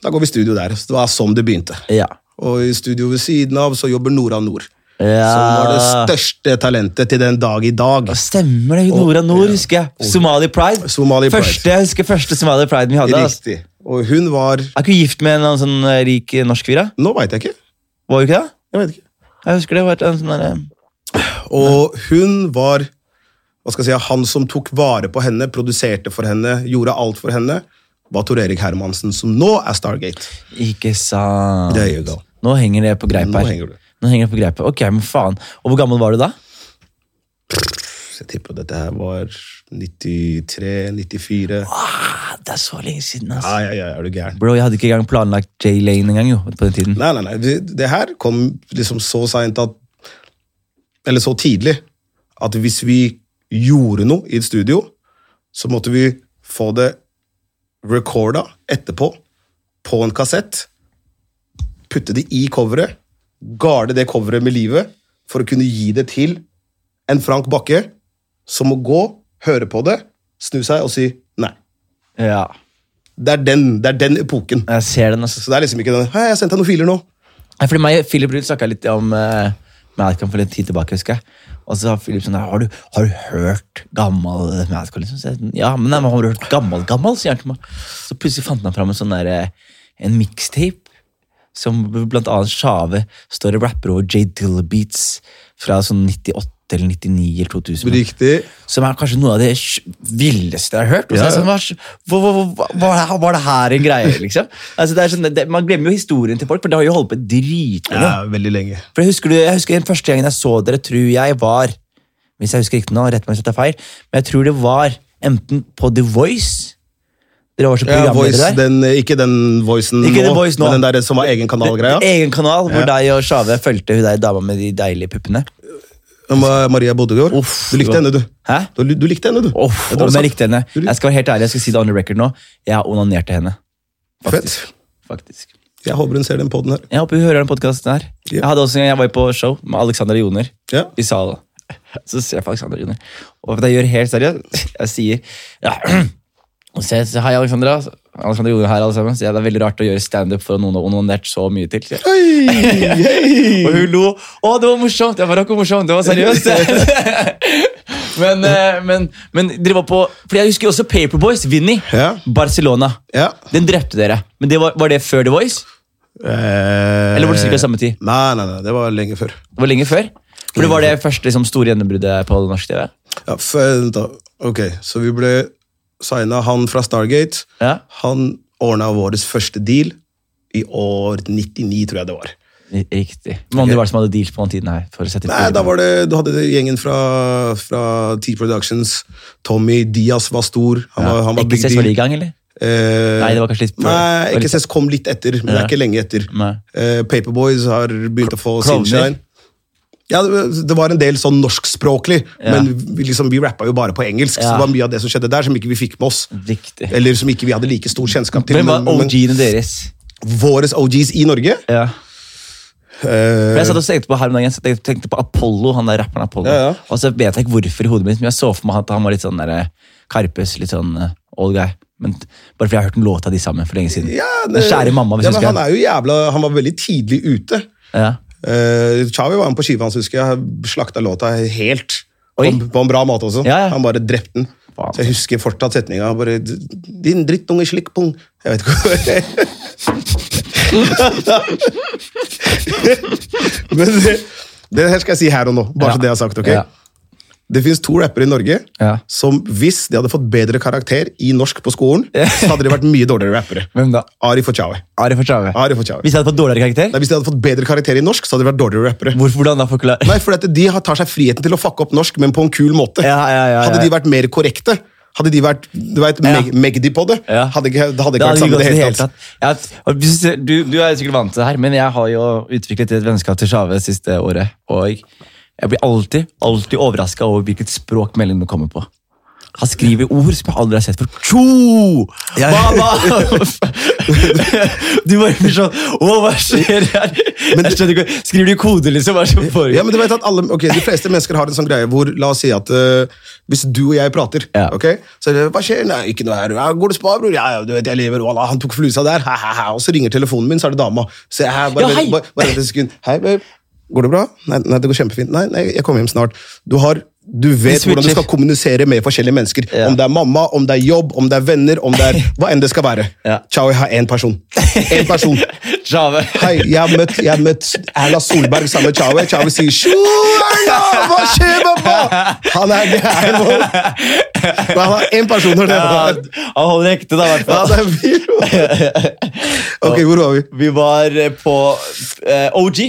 Speaker 2: da går vi i studio der. Så det var sånn det begynte.
Speaker 1: Ja.
Speaker 2: Og i studio ved siden av så jobber Nora Nord.
Speaker 1: Ja.
Speaker 2: Som var det største talentet til den dag i dag.
Speaker 1: Stemmer det. Nora Nord, husker jeg. Somali Pride.
Speaker 2: Somali Pride.
Speaker 1: Første, jeg husker første Somali Pride vi hadde. Altså.
Speaker 2: Riktig. Og hun var
Speaker 1: Er ikke hun gift med en annen sånn eh, rik eh, norsk fyr? da?
Speaker 2: Nå veit jeg ikke.
Speaker 1: Var hun ikke det?
Speaker 2: Jeg vet ikke.
Speaker 1: Jeg husker det var et- en sånn der, eh,
Speaker 2: Og hun var hva skal jeg si, Han som tok vare på henne, produserte for henne, gjorde alt for henne, var Tor Erik Hermansen, som nå er Stargate.
Speaker 1: Ikke sant.
Speaker 2: There you go.
Speaker 1: Nå henger det på greip
Speaker 2: Nå
Speaker 1: her.
Speaker 2: henger det.
Speaker 1: Nå henger det på greip her. Ok, men faen. Og hvor gammel var du da?
Speaker 2: Så jeg tipper dette her var 93-94.
Speaker 1: Ah, det er så lenge siden, altså.
Speaker 2: Ja, ja, ja, er du gæren?
Speaker 1: Bro, jeg hadde ikke engang planlagt J. Lane engang, jo, på den tiden.
Speaker 2: Nei, nei, nei. Det- Det her kom liksom så seint at Eller så tidlig at hvis vi gjorde noe i et studio, så måtte vi få det recorda etterpå på en kassett, putte det i coveret, garde det coveret med livet for å kunne gi det til en Frank Bakke som må gå, høre på det, snu seg og si nei.
Speaker 1: Ja.
Speaker 2: Det er den, det er den epoken.
Speaker 1: Jeg ser den, altså.
Speaker 2: Så det er liksom ikke den Hei, jeg sendte deg noen filer nå.
Speaker 1: Nei, Fordi meg og Philip Ruud snakka litt om uh, Madcon for litt tid tilbake, husker jeg. Og så sa Philip sånn har du, har du hørt gammel Madcon? Liksom? Så jeg, ja, men nei, men har du hørt gammel, gammel? sier han til meg. Så plutselig fant han fram en sånn der, eh, en mixtape som blant annet Sjave står og rapper over J. Dill Beats fra sånn 98 eller 99 eller 2000.
Speaker 2: Riktig.
Speaker 1: Som er kanskje noe av det sj- villeste jeg har hørt. Og så er
Speaker 2: Ja, ja.
Speaker 1: jeg sånn, hva, sj- hva, hva, hva, hva- var det her en greie, liksom? Altså, det er sånn, det, man glemmer jo historien til folk, for det har jo holdt på dritlenge.
Speaker 2: Ja, veldig lenge.
Speaker 1: For jeg husker, du, jeg husker den første gangen jeg så dere, tror jeg var Hvis jeg husker riktig nå, rett meg hvis jeg tar feil, men jeg tror det var enten på The Voice Dere var så
Speaker 2: Ja,
Speaker 1: programledere
Speaker 2: voice,
Speaker 1: der.
Speaker 2: den, eh, ikke den voicen
Speaker 1: Ikke
Speaker 2: nå,
Speaker 1: den voice nå.
Speaker 2: men den der som var egen kanalgreia.
Speaker 1: Egen kanal hvor
Speaker 2: Ja.
Speaker 1: deg og Sjave fulgte hun der dama med de deilige puppene.
Speaker 2: Ma- eh, Maria Bodøgaard.
Speaker 1: Uff.
Speaker 2: Du likte henne, du.
Speaker 1: Hæ?
Speaker 2: Du, du likte henne, du.
Speaker 1: Uff,
Speaker 2: Det er
Speaker 1: om jeg
Speaker 2: sant.
Speaker 1: likte henne.
Speaker 2: Du lik-
Speaker 1: Jeg skal være helt ærlig, jeg skal si det on the record nå. Jeg har onanert til henne.
Speaker 2: Fett.
Speaker 1: Faktisk.
Speaker 2: Jeg håper hun ser den podden her.
Speaker 1: Jeg håper hun hører den podkasten her.
Speaker 2: Ja.
Speaker 1: Jeg hadde også en gang jeg var på show med Alexander Joner
Speaker 2: Ja.
Speaker 1: i salen. Så ser jeg på Alexander Joner. Og det jeg gjør helt seriøst, jeg sier ja, og så jeg sier, Hei, Alexandra. Alexander Joner her, alle sammen. Så jeg, det er veldig rart å gjøre standup for noen har onanert så mye til. sier jeg.
Speaker 2: Hei, hei.
Speaker 1: Og hun lo. Å, det var morsomt! Jeg bare, det var ikke morsomt, det var seriøst. men, eh, men, men dere var på For jeg husker jo også Paperboys, Vinni.
Speaker 2: Ja.
Speaker 1: Barcelona.
Speaker 2: Ja.
Speaker 1: Den drepte dere. Men det var, var det før The Voice? Eller var det cirka samme tid?
Speaker 2: Eh, Nei, nei, nei, det var lenge før.
Speaker 1: Det var lenge før? For det var det første liksom, store gjennombruddet på norsk TV?
Speaker 2: Ja, f- da. Ok, så vi ble signa han fra Stargate.
Speaker 1: Ja.
Speaker 2: Han ordna vår første deal i år 99, tror jeg det var.
Speaker 1: Riktig. Hvor mange var det som hadde deals på den tiden her? For å sette
Speaker 2: Nei, da var det, Du hadde det gjengen fra, fra T Productions. Tommy Diaz var stor. Han var, han var big
Speaker 1: XS var de i
Speaker 2: deal.
Speaker 1: gang, eller?
Speaker 2: Eh,
Speaker 1: Nei, det var kanskje litt før.
Speaker 2: Nei,
Speaker 1: Det var litt-
Speaker 2: XS kom litt etter, men det er ikke lenge etter.
Speaker 1: Nei.
Speaker 2: Eh, Paperboys har begynt å få
Speaker 1: Klovner.
Speaker 2: sinshine. Ja, det det var en del sånn norskspråklig, men vi, liksom, vi rappa jo bare på engelsk. Så
Speaker 1: Ja.
Speaker 2: det var mye av det som skjedde der, som ikke vi fikk med oss.
Speaker 1: Riktig.
Speaker 2: Eller som ikke vi hadde like stor kjennskap til.
Speaker 1: Hvem var OG-ene deres?
Speaker 2: men våres OGs i Norge
Speaker 1: Ja.
Speaker 2: eh,
Speaker 1: For jeg satt og tenkte på her om dagen, så tenkte- tenkte på Apollo, han der rapperen Apollo.
Speaker 2: Ja, ja.
Speaker 1: Og så vet jeg ikke hvorfor i hodet mitt, men jeg så for meg at han var litt sånn der, eh, Karpes, litt sånn eh, old guy. Men t- bare fordi jeg har hørt en låt av de sammen for lenge siden.
Speaker 2: ja,
Speaker 1: Den kjære mamma, hvis
Speaker 2: ja,
Speaker 1: jeg
Speaker 2: men
Speaker 1: husker.
Speaker 2: han er jo jævla Han var veldig tidlig ute.
Speaker 1: Ja.
Speaker 2: Eh, Chavi var med på skiva hans, husker jeg. Slakta låta helt. På,
Speaker 1: Oi.
Speaker 2: på en bra måte også.
Speaker 1: Ja, ja.
Speaker 2: Han bare drepte den.
Speaker 1: Faen. altså.
Speaker 2: Så jeg husker fortsatt setninga. Bare, Din drittunge slikkpung. Jeg vet ikke hva Men det, det her skal jeg si her og nå, bare
Speaker 1: Ja.
Speaker 2: så det jeg har sagt. ok?
Speaker 1: Ja.
Speaker 2: Det finnes to rappere i Norge
Speaker 1: Ja.
Speaker 2: som hvis de hadde fått bedre karakter i norsk på skolen, så hadde de vært mye dårligere rappere.
Speaker 1: Hvem da?
Speaker 2: Arif og Chawi.
Speaker 1: Arif og Chave.
Speaker 2: Arif og Chawi.
Speaker 1: Hvis jeg hadde fått dårligere karakter,
Speaker 2: Nei, Hvis de hadde fått bedre karakter i norsk, så hadde de vært dårligere rappere.
Speaker 1: hvorfor hvordan da forklare?
Speaker 2: Nei, for at De har- tar seg friheten til å fucke opp norsk, men på en kul måte.
Speaker 1: Ja, ja, ja, ja.
Speaker 2: Hadde de vært mer korrekte, hadde de vært du vet, meg, Magdi på det,
Speaker 1: Ja.
Speaker 2: hadde ikke, det hadde
Speaker 1: Det
Speaker 2: ikke
Speaker 1: hadde
Speaker 2: vært
Speaker 1: ikke
Speaker 2: sammen
Speaker 1: gått
Speaker 2: i det hele
Speaker 1: helt
Speaker 2: tatt.
Speaker 1: tatt. Ja, og hvis du, du er sikkert vant til det her, men jeg har jo utviklet et vennskap til Chave siste året. Og jeg blir alltid alltid overraska over hvilket språk meldingene kommer på. Han skriver ord som jeg aldri har sett før. Tjo! Baba! Du bare blir sånn Å, hva skjer her? Jeg skjønner ikke, Skriver du koder, liksom? Hva er det som foregår?
Speaker 2: Ja, men du vet at alle, ok, De fleste mennesker har en sånn greie hvor La oss si at eh, hvis du og jeg prater
Speaker 1: Ja.
Speaker 2: ok, så er det, Hva skjer? Nei, ikke noe her. Ja, går det spa, bror? Ja, ja, du vet, jeg lever. Wallah, han tok flusa der. Ha, ha, ha. Og så ringer telefonen min, så er det dama. Så jeg, bare,
Speaker 1: Ja, hei.
Speaker 2: bare, bare vent et sekund. Hei, babe. Går det bra? Nei, nei, det går kjempefint. Nei, nei, jeg kommer hjem snart. Du har du
Speaker 1: Det
Speaker 2: vet
Speaker 1: switcher.
Speaker 2: hvordan du skal kommunisere med forskjellige mennesker.
Speaker 1: Ja.
Speaker 2: Om det er mamma, om det er jobb, om det er venner, om det er hva enn det skal være.
Speaker 1: Ja.
Speaker 2: Ciao, jeg har én person. Én person.
Speaker 1: Chave.
Speaker 2: Hei, jeg har møtt, jeg har møtt Erla Solberg sammen med Chawe. Chawe sier «Sjo, Erna, hva skjer, pappa? Han er gæren. mann. Men Han har én person når det
Speaker 1: Ja,
Speaker 2: er
Speaker 1: han holder ekte, da, i hvert
Speaker 2: Ja,
Speaker 1: fall.
Speaker 2: det er fyr. Ok, hvor var vi?
Speaker 1: Vi var eh, på eh, OG.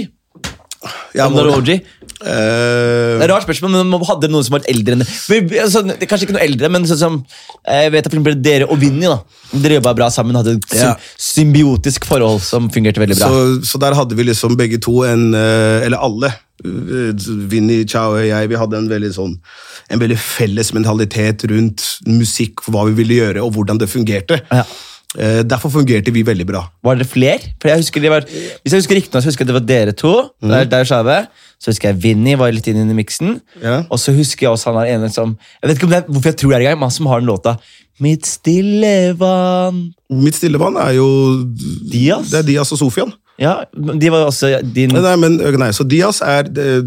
Speaker 2: Ja,
Speaker 1: Om det var
Speaker 2: hvor-
Speaker 1: OG.
Speaker 2: Eh,
Speaker 1: Det er et rart spørsmål, men man hadde noen som var eldre enn det. Men, altså, det er kanskje ikke noe eldre, men sånn som eh, jeg vet at for eksempel dere og Vinny da. Dere jobba bra sammen, hadde et
Speaker 2: Ja.
Speaker 1: sym- symbiotisk forhold som fungerte veldig bra.
Speaker 2: så, så der hadde vi liksom begge to en eh, Eller alle. eh, Vinny, Chawe og jeg, vi hadde en veldig sånn en veldig felles mentalitet rundt musikk, hva vi ville gjøre, og hvordan det fungerte.
Speaker 1: Ja.
Speaker 2: Eh, Derfor fungerte vi veldig bra.
Speaker 1: Var det fler? For jeg husker det var, hvis jeg husker riktig, nå, så husker jeg det var dere to.
Speaker 2: Mm.
Speaker 1: Der, der Shave. Så husker jeg Vinny var litt inne i miksen.
Speaker 2: Ja.
Speaker 1: Og så husker jeg også han der ene som Jeg vet ikke om det er, hvorfor jeg tror det er en gang, men han som har den låta Mitt stille vann
Speaker 2: Mitt stille vann er jo
Speaker 1: Diaz?
Speaker 2: Det er Diaz og Sofian.
Speaker 1: Ja, de var jo også din
Speaker 2: Nei, nei, men, nei, så Diaz er eh,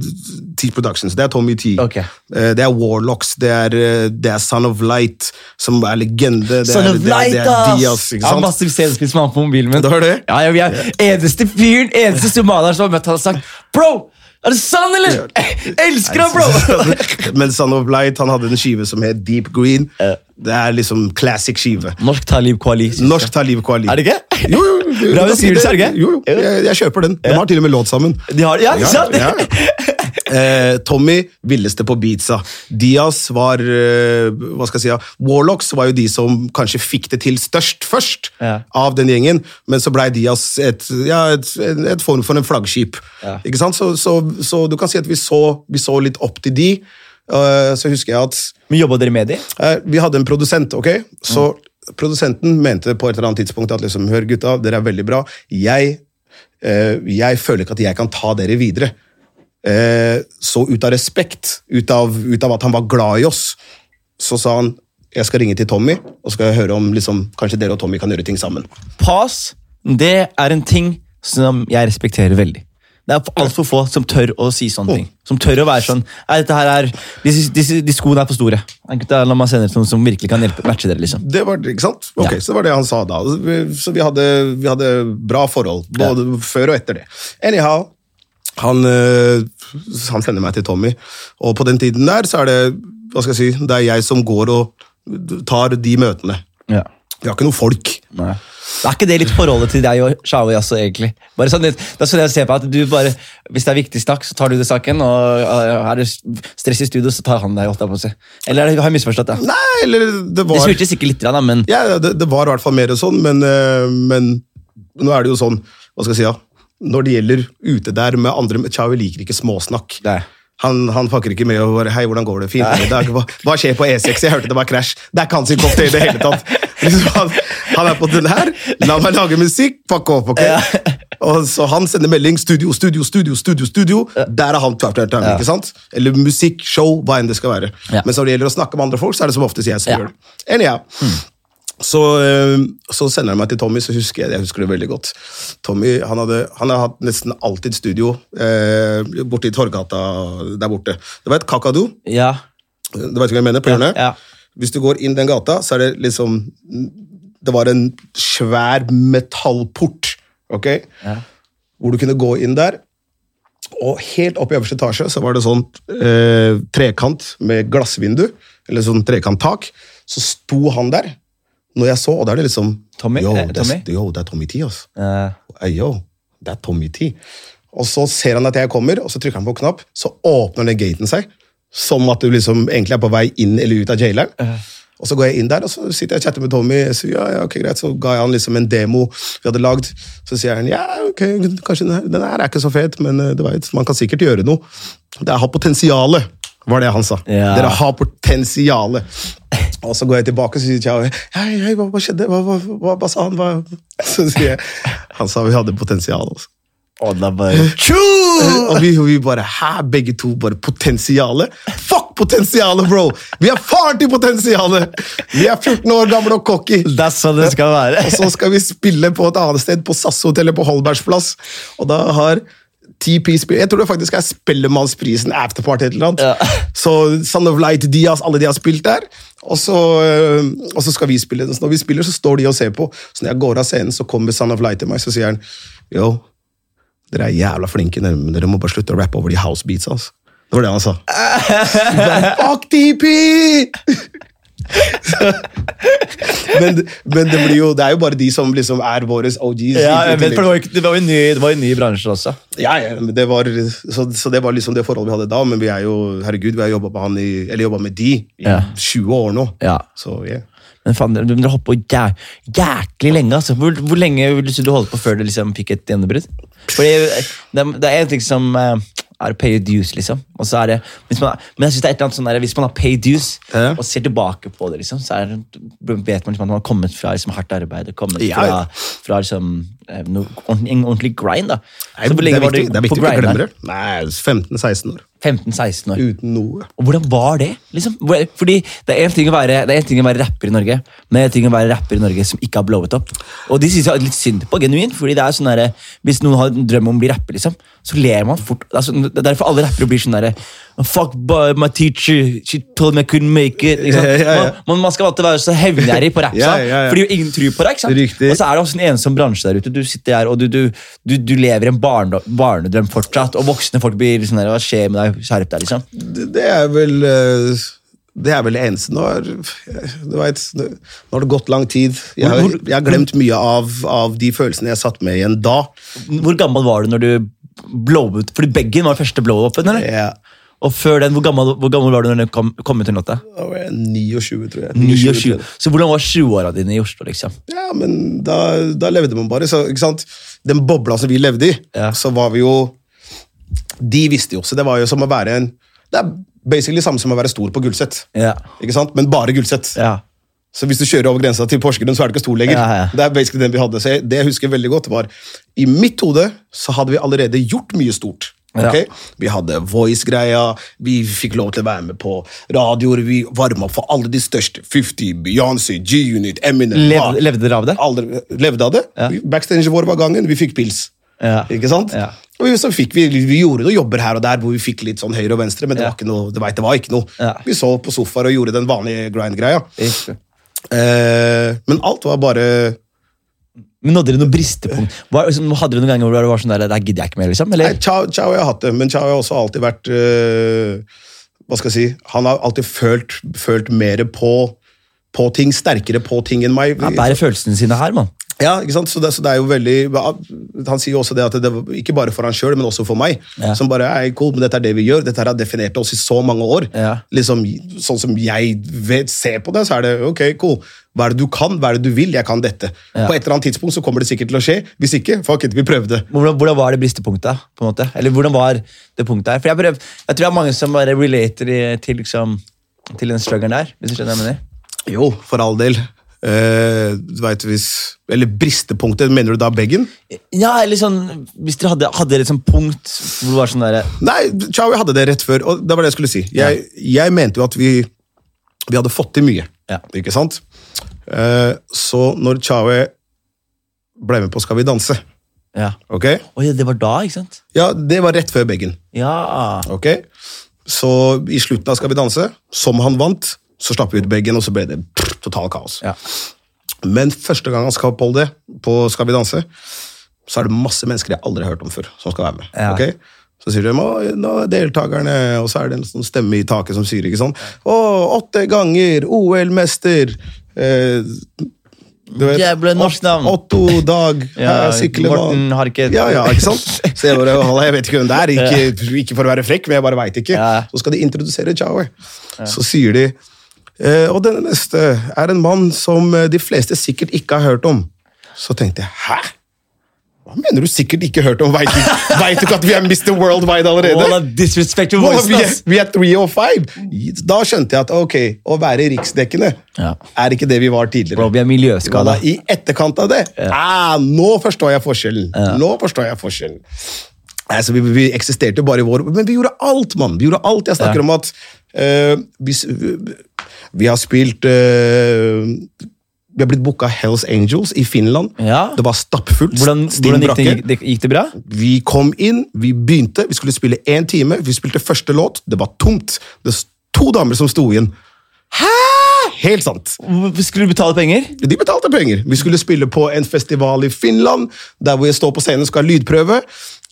Speaker 2: T Productions. Det er Tommy T.
Speaker 1: Ok.
Speaker 2: Eh, Det er Warlocks, det er, eh, det er Son of Light, som er legende. Det
Speaker 1: Son
Speaker 2: er,
Speaker 1: of
Speaker 2: det er,
Speaker 1: Light,
Speaker 2: det er Diaz,
Speaker 1: ass!
Speaker 2: ikke
Speaker 1: Ja,
Speaker 2: sant?
Speaker 1: massiv selvspill som han på mobilen min.
Speaker 2: Det var det?
Speaker 1: Ja, jeg, jeg, eneste fyren, eneste somalier som har møtt han og sagt Bro! Er det sann, eller? Jeg elsker han, bro!
Speaker 2: men Son of Light han hadde en skive som het Deep Green. Det er liksom classic skive.
Speaker 1: Norsk Talib Kwali. synes jeg.
Speaker 2: Norsk tar livet av liv.
Speaker 1: Er det ikke?
Speaker 2: Jo, jo, jo, du
Speaker 1: Bra
Speaker 2: kan si
Speaker 1: beskrivelse, er det ikke?
Speaker 2: Jo, jo. Jeg, jeg kjøper den. De har til og med låt sammen.
Speaker 1: De har, ja, ikke sant?
Speaker 2: Ja, ja. Eh, Tommy, villeste på beatsa. Diaz var eh, Hva skal jeg si? ja, Warlocks var jo de som kanskje fikk det til størst først
Speaker 1: Ja.
Speaker 2: av den gjengen, men så blei Diaz et, ja, et, en- et form for en flaggskip. Ikke sant? Så, så, så du kan si at vi så, vi så litt opp til de. Eh, så husker jeg at
Speaker 1: Men jobba dere med de?
Speaker 2: Eh, Vi hadde en produsent, ok? Så produsenten mente på et eller annet tidspunkt at liksom, hør gutta, dere er veldig bra. Jeg, eh, jeg føler ikke at jeg kan ta dere videre. Eh, så ut av respekt, ut av, ut av at han var glad i oss, så sa han jeg skal ringe til Tommy og så skal jeg høre om liksom, kanskje dere og Tommy kan gjøre ting sammen.
Speaker 1: Pass, det er en ting som jeg respekterer veldig. Det er altfor få som tør å si
Speaker 2: Oh.
Speaker 1: sånne ting. Som tør å være sånn Nei, dette her er disse, disse, De skoene er for store. Nei, Gutta, la meg sende dere til noen som virkelig kan hjelpe matche dere. liksom
Speaker 2: Det var, ikke sant? Ok,
Speaker 1: Ja.
Speaker 2: Så det var det han sa da. Vi- Så vi hadde, vi hadde bra forhold, både før og etter det. Anyhow, han, øh, han sender meg til Tommy, og på den tiden der så er det hva skal jeg si, det er jeg som går og tar de møtene.
Speaker 1: ja.
Speaker 2: Vi har ikke noe folk.
Speaker 1: Nei. Er ikke det litt forholdet til deg og Shawi også, egentlig? Bare sånn, litt- det er sånn jeg ser på at du bare, Hvis det er viktig snakk, så tar du det saken. Og øh, er det stress i studio, så tar han deg. holdt jeg på å si. Eller er det, har jeg misforstått det?
Speaker 2: Nei, eller det
Speaker 1: Det
Speaker 2: var
Speaker 1: smurte sikkert litt, da, men
Speaker 2: Ja, det, det var i hvert fall mer sånn, men, eh, men nå er det jo sånn, hva skal jeg si, ja. Når det gjelder ute der med andre Chaui liker ikke småsnakk.
Speaker 1: Nei.
Speaker 2: Han, han fucker ikke med og bare 'Hei, hvordan går det? Fint?' i dag? hva, 'Hva skjer på E6?' Jeg hørte det var krasj. Det er ikke hans kopp i det hele tatt. Liksom, han, han er på den her. La meg lage musikk. Fuck off, ok? Og så Han sender melding 'studio, studio, studio, studio'. studio. Der er han. tver, tver, tver, ikke sant? Eller musikk, show, hva enn det skal være.
Speaker 1: Ja.
Speaker 2: Men så når det gjelder å snakke med andre folk, så er det som oftest jeg som
Speaker 1: Ja.
Speaker 2: gjør det. Anyhow. Så, eh, så sender han meg til Tommy, så husker jeg, jeg husker det veldig godt. Tommy han, hadde, han har hatt nesten alltid studio eh, borte i Torgata der borte. Det var et kakadu.
Speaker 1: ja.
Speaker 2: Du vet ikke hva jeg mener? på hjørnet?
Speaker 1: ja.
Speaker 2: Hvis du går inn den gata, så er det liksom Det var en svær metallport, ok? Hvor du kunne gå inn der. Og helt opp i øverste etasje så var det sånn eh, trekant med glassvindu, eller sånn trekanttak. Så sto han der. Når jeg så, og da er det liksom
Speaker 1: Tommy?
Speaker 2: Yo,
Speaker 1: Eh,
Speaker 2: det er,
Speaker 1: Tommy?
Speaker 2: yo, det er Tommy T, altså.
Speaker 1: Eh,
Speaker 2: Hey, yo, det er Tommy T. Og så ser han at jeg kommer, og så trykker han på en knapp, så åpner den gaten seg, som at du liksom egentlig er på vei inn eller ut av jaileren. Og så går jeg inn der, og så sitter jeg og chatter med Tommy, jeg sier, ja, ja, ok, greit, så ga jeg han liksom en demo vi hadde lagd, så sier han, ja, ok, kanskje den her, den her er ikke så fet, men eh, du vet, man kan sikkert gjøre noe. Det har potensiale, var det han sa.
Speaker 1: Ja.
Speaker 2: Dere har potensiale. Og så går jeg tilbake og sier til henne, hei, hei, hva, hva skjedde? Hva, hva, hva, hva sa han? Hva? Så sier jeg, han sa vi hadde potensial. Altså.
Speaker 1: og da bare
Speaker 2: Og vi, vi bare, hæ, begge to bare potensiale? Fuck potensialet, bro! Vi er faren til potensialet! Vi er 14 år gamle og cocky.
Speaker 1: That's sånn det skal være.
Speaker 2: Og så skal vi spille på et annet sted, på SAS-hotellet på Holbergsplass. Og da har TP spill... Jeg tror det faktisk er Spellemannsprisen afterparty et eller annet.
Speaker 1: Ja.
Speaker 2: Så Son of Light, Diaz, alle de har spilt der. Og så, øh, og så skal vi spille. Så når vi spiller, så står de og ser på. Så når jeg går av scenen, så kommer Son of Light til meg, så sier han Yo, dere er jævla flinke, dere- men dere må bare slutte å rappe over de housebeats, altså. Det var det han sa. Bare, Fuck TP! men, men det, blir jo, det er jo bare de som liksom er våre OGs.
Speaker 1: Ja, jeg vet, for
Speaker 2: ikke
Speaker 1: det
Speaker 2: tillegg.
Speaker 1: var jo ikke- det var jo en ny- det var jo en ny bransje også.
Speaker 2: ja, ja, men det var, så, så det var liksom det forholdet vi hadde da, men vi er jo, herregud, vi har jobba med, han i, eller jobbet med de i
Speaker 1: Ja.
Speaker 2: 20 år nå.
Speaker 1: Ja.
Speaker 2: Så yeah.
Speaker 1: Men faen, dere- dere holdt på jæ jæklig lenge. altså. Hvor, hvor lenge ville du holde på før du liksom fikk et gjennombrudd? Fordi eh, det, er- det er en ting som eh, er pay your dues, liksom. Og så er det, hvis man, men jeg synes det er et eller annet sånn der, hvis man har pay dues
Speaker 2: Ja.
Speaker 1: og ser tilbake på det, liksom, så er, det- vet man liksom, at man har kommet fra liksom, hardt arbeid og kommet
Speaker 2: Ja,
Speaker 1: fra,
Speaker 2: ja.
Speaker 1: fra liksom, eh, noe, ordentlig- en ordentlig grind. da.
Speaker 2: Nei,
Speaker 1: Så hvor lenge
Speaker 2: det er
Speaker 1: var du
Speaker 2: viktig, det er
Speaker 1: på
Speaker 2: viktig å ikke
Speaker 1: grind
Speaker 2: glemme
Speaker 1: der?
Speaker 2: det. Nei, 15-16 år.
Speaker 1: 15-16 år.
Speaker 2: Uten noe.
Speaker 1: Og hvordan var det? liksom? Hvor- Fordi Det er en ting å være, det er en ting å være rapper i Norge, men det er en ting å være rapper i Norge som ikke har blowet opp. Og de synes jeg er litt synd på, genuint. fordi det er sånn derre, Hvis noen har en drøm om å bli rapper, liksom, så ler man fort. Altså, det er derfor alle rappere blir sånn derre Fuck boy, my teacher, she told me I couldn't make it. Ikke sant?
Speaker 2: Ja, ja, ja.
Speaker 1: Man, man skal alltid være så hevngjerrig på rapp,
Speaker 2: Ja, ja, ja.
Speaker 1: fordi jo ingen tror på deg. ikke sant?
Speaker 2: Riktig.
Speaker 1: Og så er det også en ensom bransje der ute. Du sitter her, og du, du, du, du lever en barndom, barnedrøm fortsatt, og voksne folk blir sånn der, hva skjer med deg? Skjerp deg, liksom.
Speaker 2: Det, det er vel eh, det er vel det eneste. Nå har, du vet, nå har det gått lang tid. Jeg har,
Speaker 1: Hvor- hvor-
Speaker 2: jeg har glemt mye av, av de følelsene jeg satt med igjen da.
Speaker 1: Hvor gammel var du når du blowout? Fordi Beggen var første blow-upen, eller?
Speaker 2: Ja.
Speaker 1: Og før den, hvor gammel, hvor gammel var du når den kom, kom ut den låta?
Speaker 2: Da var jeg 29, tror jeg.
Speaker 1: 29. Så hvordan var 20-åra dine i Oslo, liksom?
Speaker 2: Ja, men da, da levde man bare. Så, ikke sant? Den bobla som vi levde i,
Speaker 1: Ja.
Speaker 2: så var vi jo De visste jo også. Det var jo som å være en Det er basically samme som å være stor på Gulset.
Speaker 1: Ja.
Speaker 2: Ikke sant? Men bare Gulset.
Speaker 1: Ja.
Speaker 2: Så hvis du kjører over grensa til Porsgrunn, så er det ikke stor lenger.
Speaker 1: Ja, ja.
Speaker 2: Det er basically den vi hadde. Så jeg, det jeg husker veldig godt, var i mitt hode så hadde vi allerede gjort mye stort.
Speaker 1: Ja.
Speaker 2: ok? Vi hadde Voice-greia, vi fikk lov til å være med på radioer, vi varma opp for alle de største. 50, Beyoncé, G-Unit, Eminem hva-
Speaker 1: Levde, levde dere av det?
Speaker 2: aldri levde av det. Vi- Backstagen vår var gangen, vi fikk pils.
Speaker 1: Ja.
Speaker 2: Ikke sant?
Speaker 1: Ja.
Speaker 2: Og vi- så fikk vi, vi gjorde noen jobber her og der hvor vi fikk litt sånn høyre og venstre, men det var ikke noe, du vet, det var ikke noe.
Speaker 1: Ja.
Speaker 2: Vi så på sofaer og gjorde den vanlige grind-greia.
Speaker 1: Riktig.
Speaker 2: Eh, men alt var bare
Speaker 1: Men nådde dere noen bristepunkt? Var, liksom, hadde dere noen ganger hvor det var sånn der, der gidder jeg ikke mer, liksom?
Speaker 2: Nei,
Speaker 1: Eller?
Speaker 2: Chao, Chao jeg har hatt det, men Chao har også alltid vært eh, Hva skal jeg si Han har alltid følt, følt mer på, på ting, sterkere på ting enn meg.
Speaker 1: Han bærer følelsene sine her, mann.
Speaker 2: Ja, ikke sant? Så det, så det er jo veldig Han sier jo også det at det var ikke bare for han sjøl, men også for meg.
Speaker 1: Ja.
Speaker 2: Som bare er cool, men dette er det vi gjør. Dette her har definert oss i så mange år.
Speaker 1: Ja.
Speaker 2: Liksom, Sånn som jeg vet, ser på det, så er det ok, cool. Hva er det du kan? Hva er det du vil? Jeg kan dette. På et eller annet tidspunkt så kommer det sikkert til å skje. Hvis ikke, fuck it, vi prøvde.
Speaker 1: Hvordan, hvordan var det bristepunktet? på en måte? Eller hvordan var det punktet her? For jeg, bare, jeg tror det er mange som bare relater i, til, liksom, til den struggeren der. hvis du skjønner hva jeg mener.
Speaker 2: Jo, for all del. Eh, du vet hvis Eller bristepunktet, mener du da beggen?
Speaker 1: Ja, eller sånn, Hvis dere hadde, hadde dere et sånt punkt hvor det var sånn der,
Speaker 2: Nei, Chow jeg hadde det rett før, og det var det jeg skulle si. Jeg, jeg mente jo at vi, vi hadde fått til mye,
Speaker 1: Ja.
Speaker 2: ikke sant? Eh, så når Chow ble med på Skal vi danse,
Speaker 1: ja.
Speaker 2: ok?
Speaker 1: Å ja, det var da, ikke sant?
Speaker 2: Ja, det var rett før Beggen,
Speaker 1: Ja.
Speaker 2: ok? Så i slutten av Skal vi danse, som han vant, så slapp vi ut Beggen, og så ble det pff, total kaos.
Speaker 1: Ja.
Speaker 2: Men første gang han skal på det, på Skal vi danse, så er det masse mennesker jeg aldri har hørt om før, som skal være med.
Speaker 1: Ja.
Speaker 2: ok? Så sier de å, nå er deltakerne, og så er det en sånn stemme i taket som sier ikke sånn Å, åtte ganger OL-mester! Eh, du vet,
Speaker 1: Jeg ble norsk
Speaker 2: Ott-
Speaker 1: navn.
Speaker 2: Otto Dag
Speaker 1: Ja,
Speaker 2: her, Siklemann.
Speaker 1: Morten Harket.
Speaker 2: Ja, ja, ikke sant? Så jeg bare, «Halla, jeg vet ikke hvem det er, ikke, ikke for å være frekk, men jeg bare veit ikke.
Speaker 1: Ja.
Speaker 2: Så skal de introdusere Chaue. Så sier de eh, Og denne neste er en mann som eh, de fleste sikkert ikke har hørt om. Så tenkte jeg hæ? Hva mener du sikkert ikke hørt om? Veit du, vet du ikke at vi er Mr. Worldwide allerede?
Speaker 1: Walla, disrespect to
Speaker 2: Wow,
Speaker 1: voice,
Speaker 2: vi, er,
Speaker 1: ass!
Speaker 2: vi er 305! Da skjønte jeg at ok, å være riksdekkende
Speaker 1: Ja.
Speaker 2: er ikke det vi var tidligere.
Speaker 1: Bro, vi er miljøskada.
Speaker 2: Da, I etterkant av det ah, Nå forstår jeg forskjellen! Nå forstår jeg forskjellen. Nei, så vi, vi eksisterte bare i vår Men vi gjorde alt, mann! Vi gjorde alt. Jeg snakker om at eh, vi, s- vi, vi har spilt eh, Vi har blitt booka Hells Angels i Finland.
Speaker 1: Ja.
Speaker 2: Det var stappfullt.
Speaker 1: Hvordan,
Speaker 2: stinn
Speaker 1: hvordan gikk, det,
Speaker 2: brakke.
Speaker 1: gikk, det, gikk det bra?
Speaker 2: Vi kom inn, vi begynte, vi skulle spille én time. Vi spilte første låt, det var tomt. Det var to damer som sto igjen. Hæ?! Helt sant.
Speaker 1: Hvor- Skulle du betale penger?
Speaker 2: De betalte penger. Vi skulle spille på en festival i Finland, der hvor jeg står på scenen og skal ha lydprøve.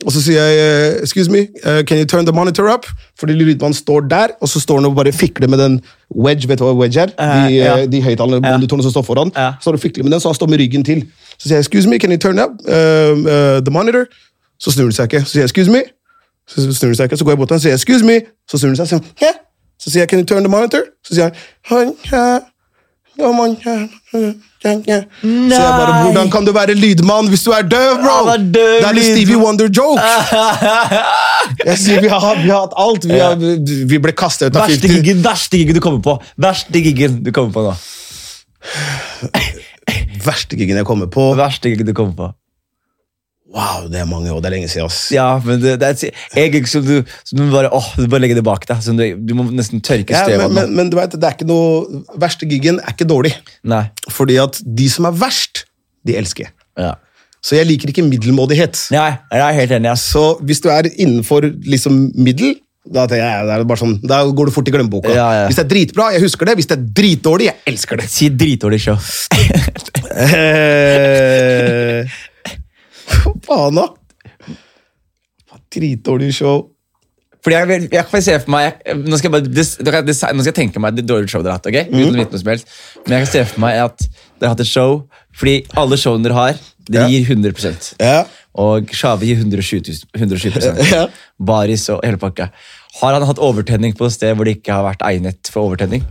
Speaker 2: Og så sier jeg eh, excuse me, eh, can you turn the monitor up? Fordi lydmannen står der, og så står han og bare fikler med den wedge, vet du hva wedge er? De,
Speaker 1: ja.
Speaker 2: eh, de høyttalende
Speaker 1: Ja.
Speaker 2: monitorene som står foran.
Speaker 1: Ja.
Speaker 2: Så står han og fikler med den, så han står med ryggen til. Så sier jeg excuse me, can you turn up eh, eh, the monitor? Så snur han seg ikke. Så sier jeg excuse me, så snur han seg ikke. Så går jeg bort til han og sier excuse me, så snur han seg og sier han, hæ? Så sier jeg can you turn the monitor? Så sier han «Han, hæ?» Ja, man, ja, ja, ja, ja. Så jeg bare,
Speaker 1: Nei.
Speaker 2: Hvordan kan du være lydmann hvis du er døv, bro?
Speaker 1: Han var døv
Speaker 2: det er litt
Speaker 1: lyd-
Speaker 2: Stevie Wonder-joke! Jeg sier, vi har, hatt- vi har hatt alt. Vi, har, vi ble kastet ut av
Speaker 1: Verste
Speaker 2: 50.
Speaker 1: giggen, verste giggen du kommer på. Verste giggen du kommer på nå.
Speaker 2: Verste gigen jeg kommer på.
Speaker 1: Verste giggen du kommer på.
Speaker 2: Wow, det er mange år. Det er lenge siden. ass.
Speaker 1: Ja, men det, det er en gig som du, som du bare åh, du bare legger det bak deg. Som du, du må nesten tørke
Speaker 2: Ja,
Speaker 1: støvet
Speaker 2: men,
Speaker 1: av
Speaker 2: men, men du vet, det er ikke noe Verste gigen er ikke dårlig.
Speaker 1: Nei.
Speaker 2: Fordi at de som er verst, de elsker jeg.
Speaker 1: Ja.
Speaker 2: Så jeg liker ikke middelmådighet.
Speaker 1: Nei, jeg er helt enig. ass.
Speaker 2: Så hvis du er innenfor liksom middel, da, tenker jeg, da, er det bare sånn, da går du fort i glemmeboka.
Speaker 1: Ja, ja.
Speaker 2: Hvis det er dritbra, jeg husker det. Hvis det er dritdårlig, jeg elsker det.
Speaker 1: Si dritdårlig show.
Speaker 2: Eh, Hva faen, da? Hva Dritdårlig show.
Speaker 1: Fordi jeg, vil- jeg kan se for meg jeg, Nå skal jeg bare des, dere- des, Nå skal jeg tenke meg det dårlige showet dere har hatt. ok? Uten å vite noe som helst. Men jeg kan se for meg at dere har hatt et show fordi alle showene dere har, dere
Speaker 2: Ja.
Speaker 1: gir 100
Speaker 2: Ja.
Speaker 1: Og Shawi gir 120 000, 120 Baris og hele pakka. Har han hatt overtenning på et sted hvor det ikke har vært egnet for overtenning?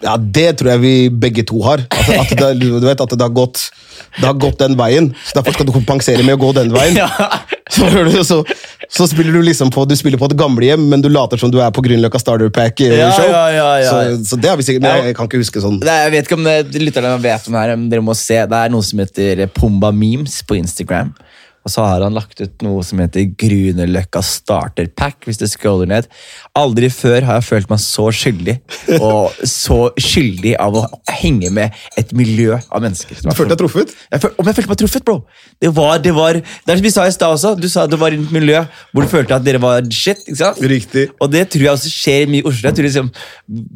Speaker 2: Ja, det tror jeg vi begge to har. At, at det, du vet at det har gått det har gått den veien, så derfor skal du kompensere med å gå den veien. Så, hører du, så, så spiller du liksom på du spiller på et gamlehjem, men du later som du er på Grünerløkka Starter Pack-show.
Speaker 1: Ja, ja, ja, ja.
Speaker 2: så, så det har vi sikkert, men jeg, jeg kan ikke huske sånn.
Speaker 1: Nei, jeg vet ikke om det, lytterne vet om det her, men dere må se. Det er noe som heter Pumba Memes på Instagram. Og så har han lagt ut noe som heter Grünerløkka starter pack, hvis du scroller ned. Aldri før har jeg følt meg så skyldig, og så skyldig av å henge med et miljø av mennesker.
Speaker 2: Du følte deg truffet?
Speaker 1: Jeg føl- om jeg følte meg truffet, bro. Det var, det var, det er som vi sa i stad også, du sa at du var i et miljø hvor du følte at dere var shit. ikke sant?
Speaker 2: Riktig.
Speaker 1: Og det tror jeg også skjer mye i Oslo. Jeg tror liksom,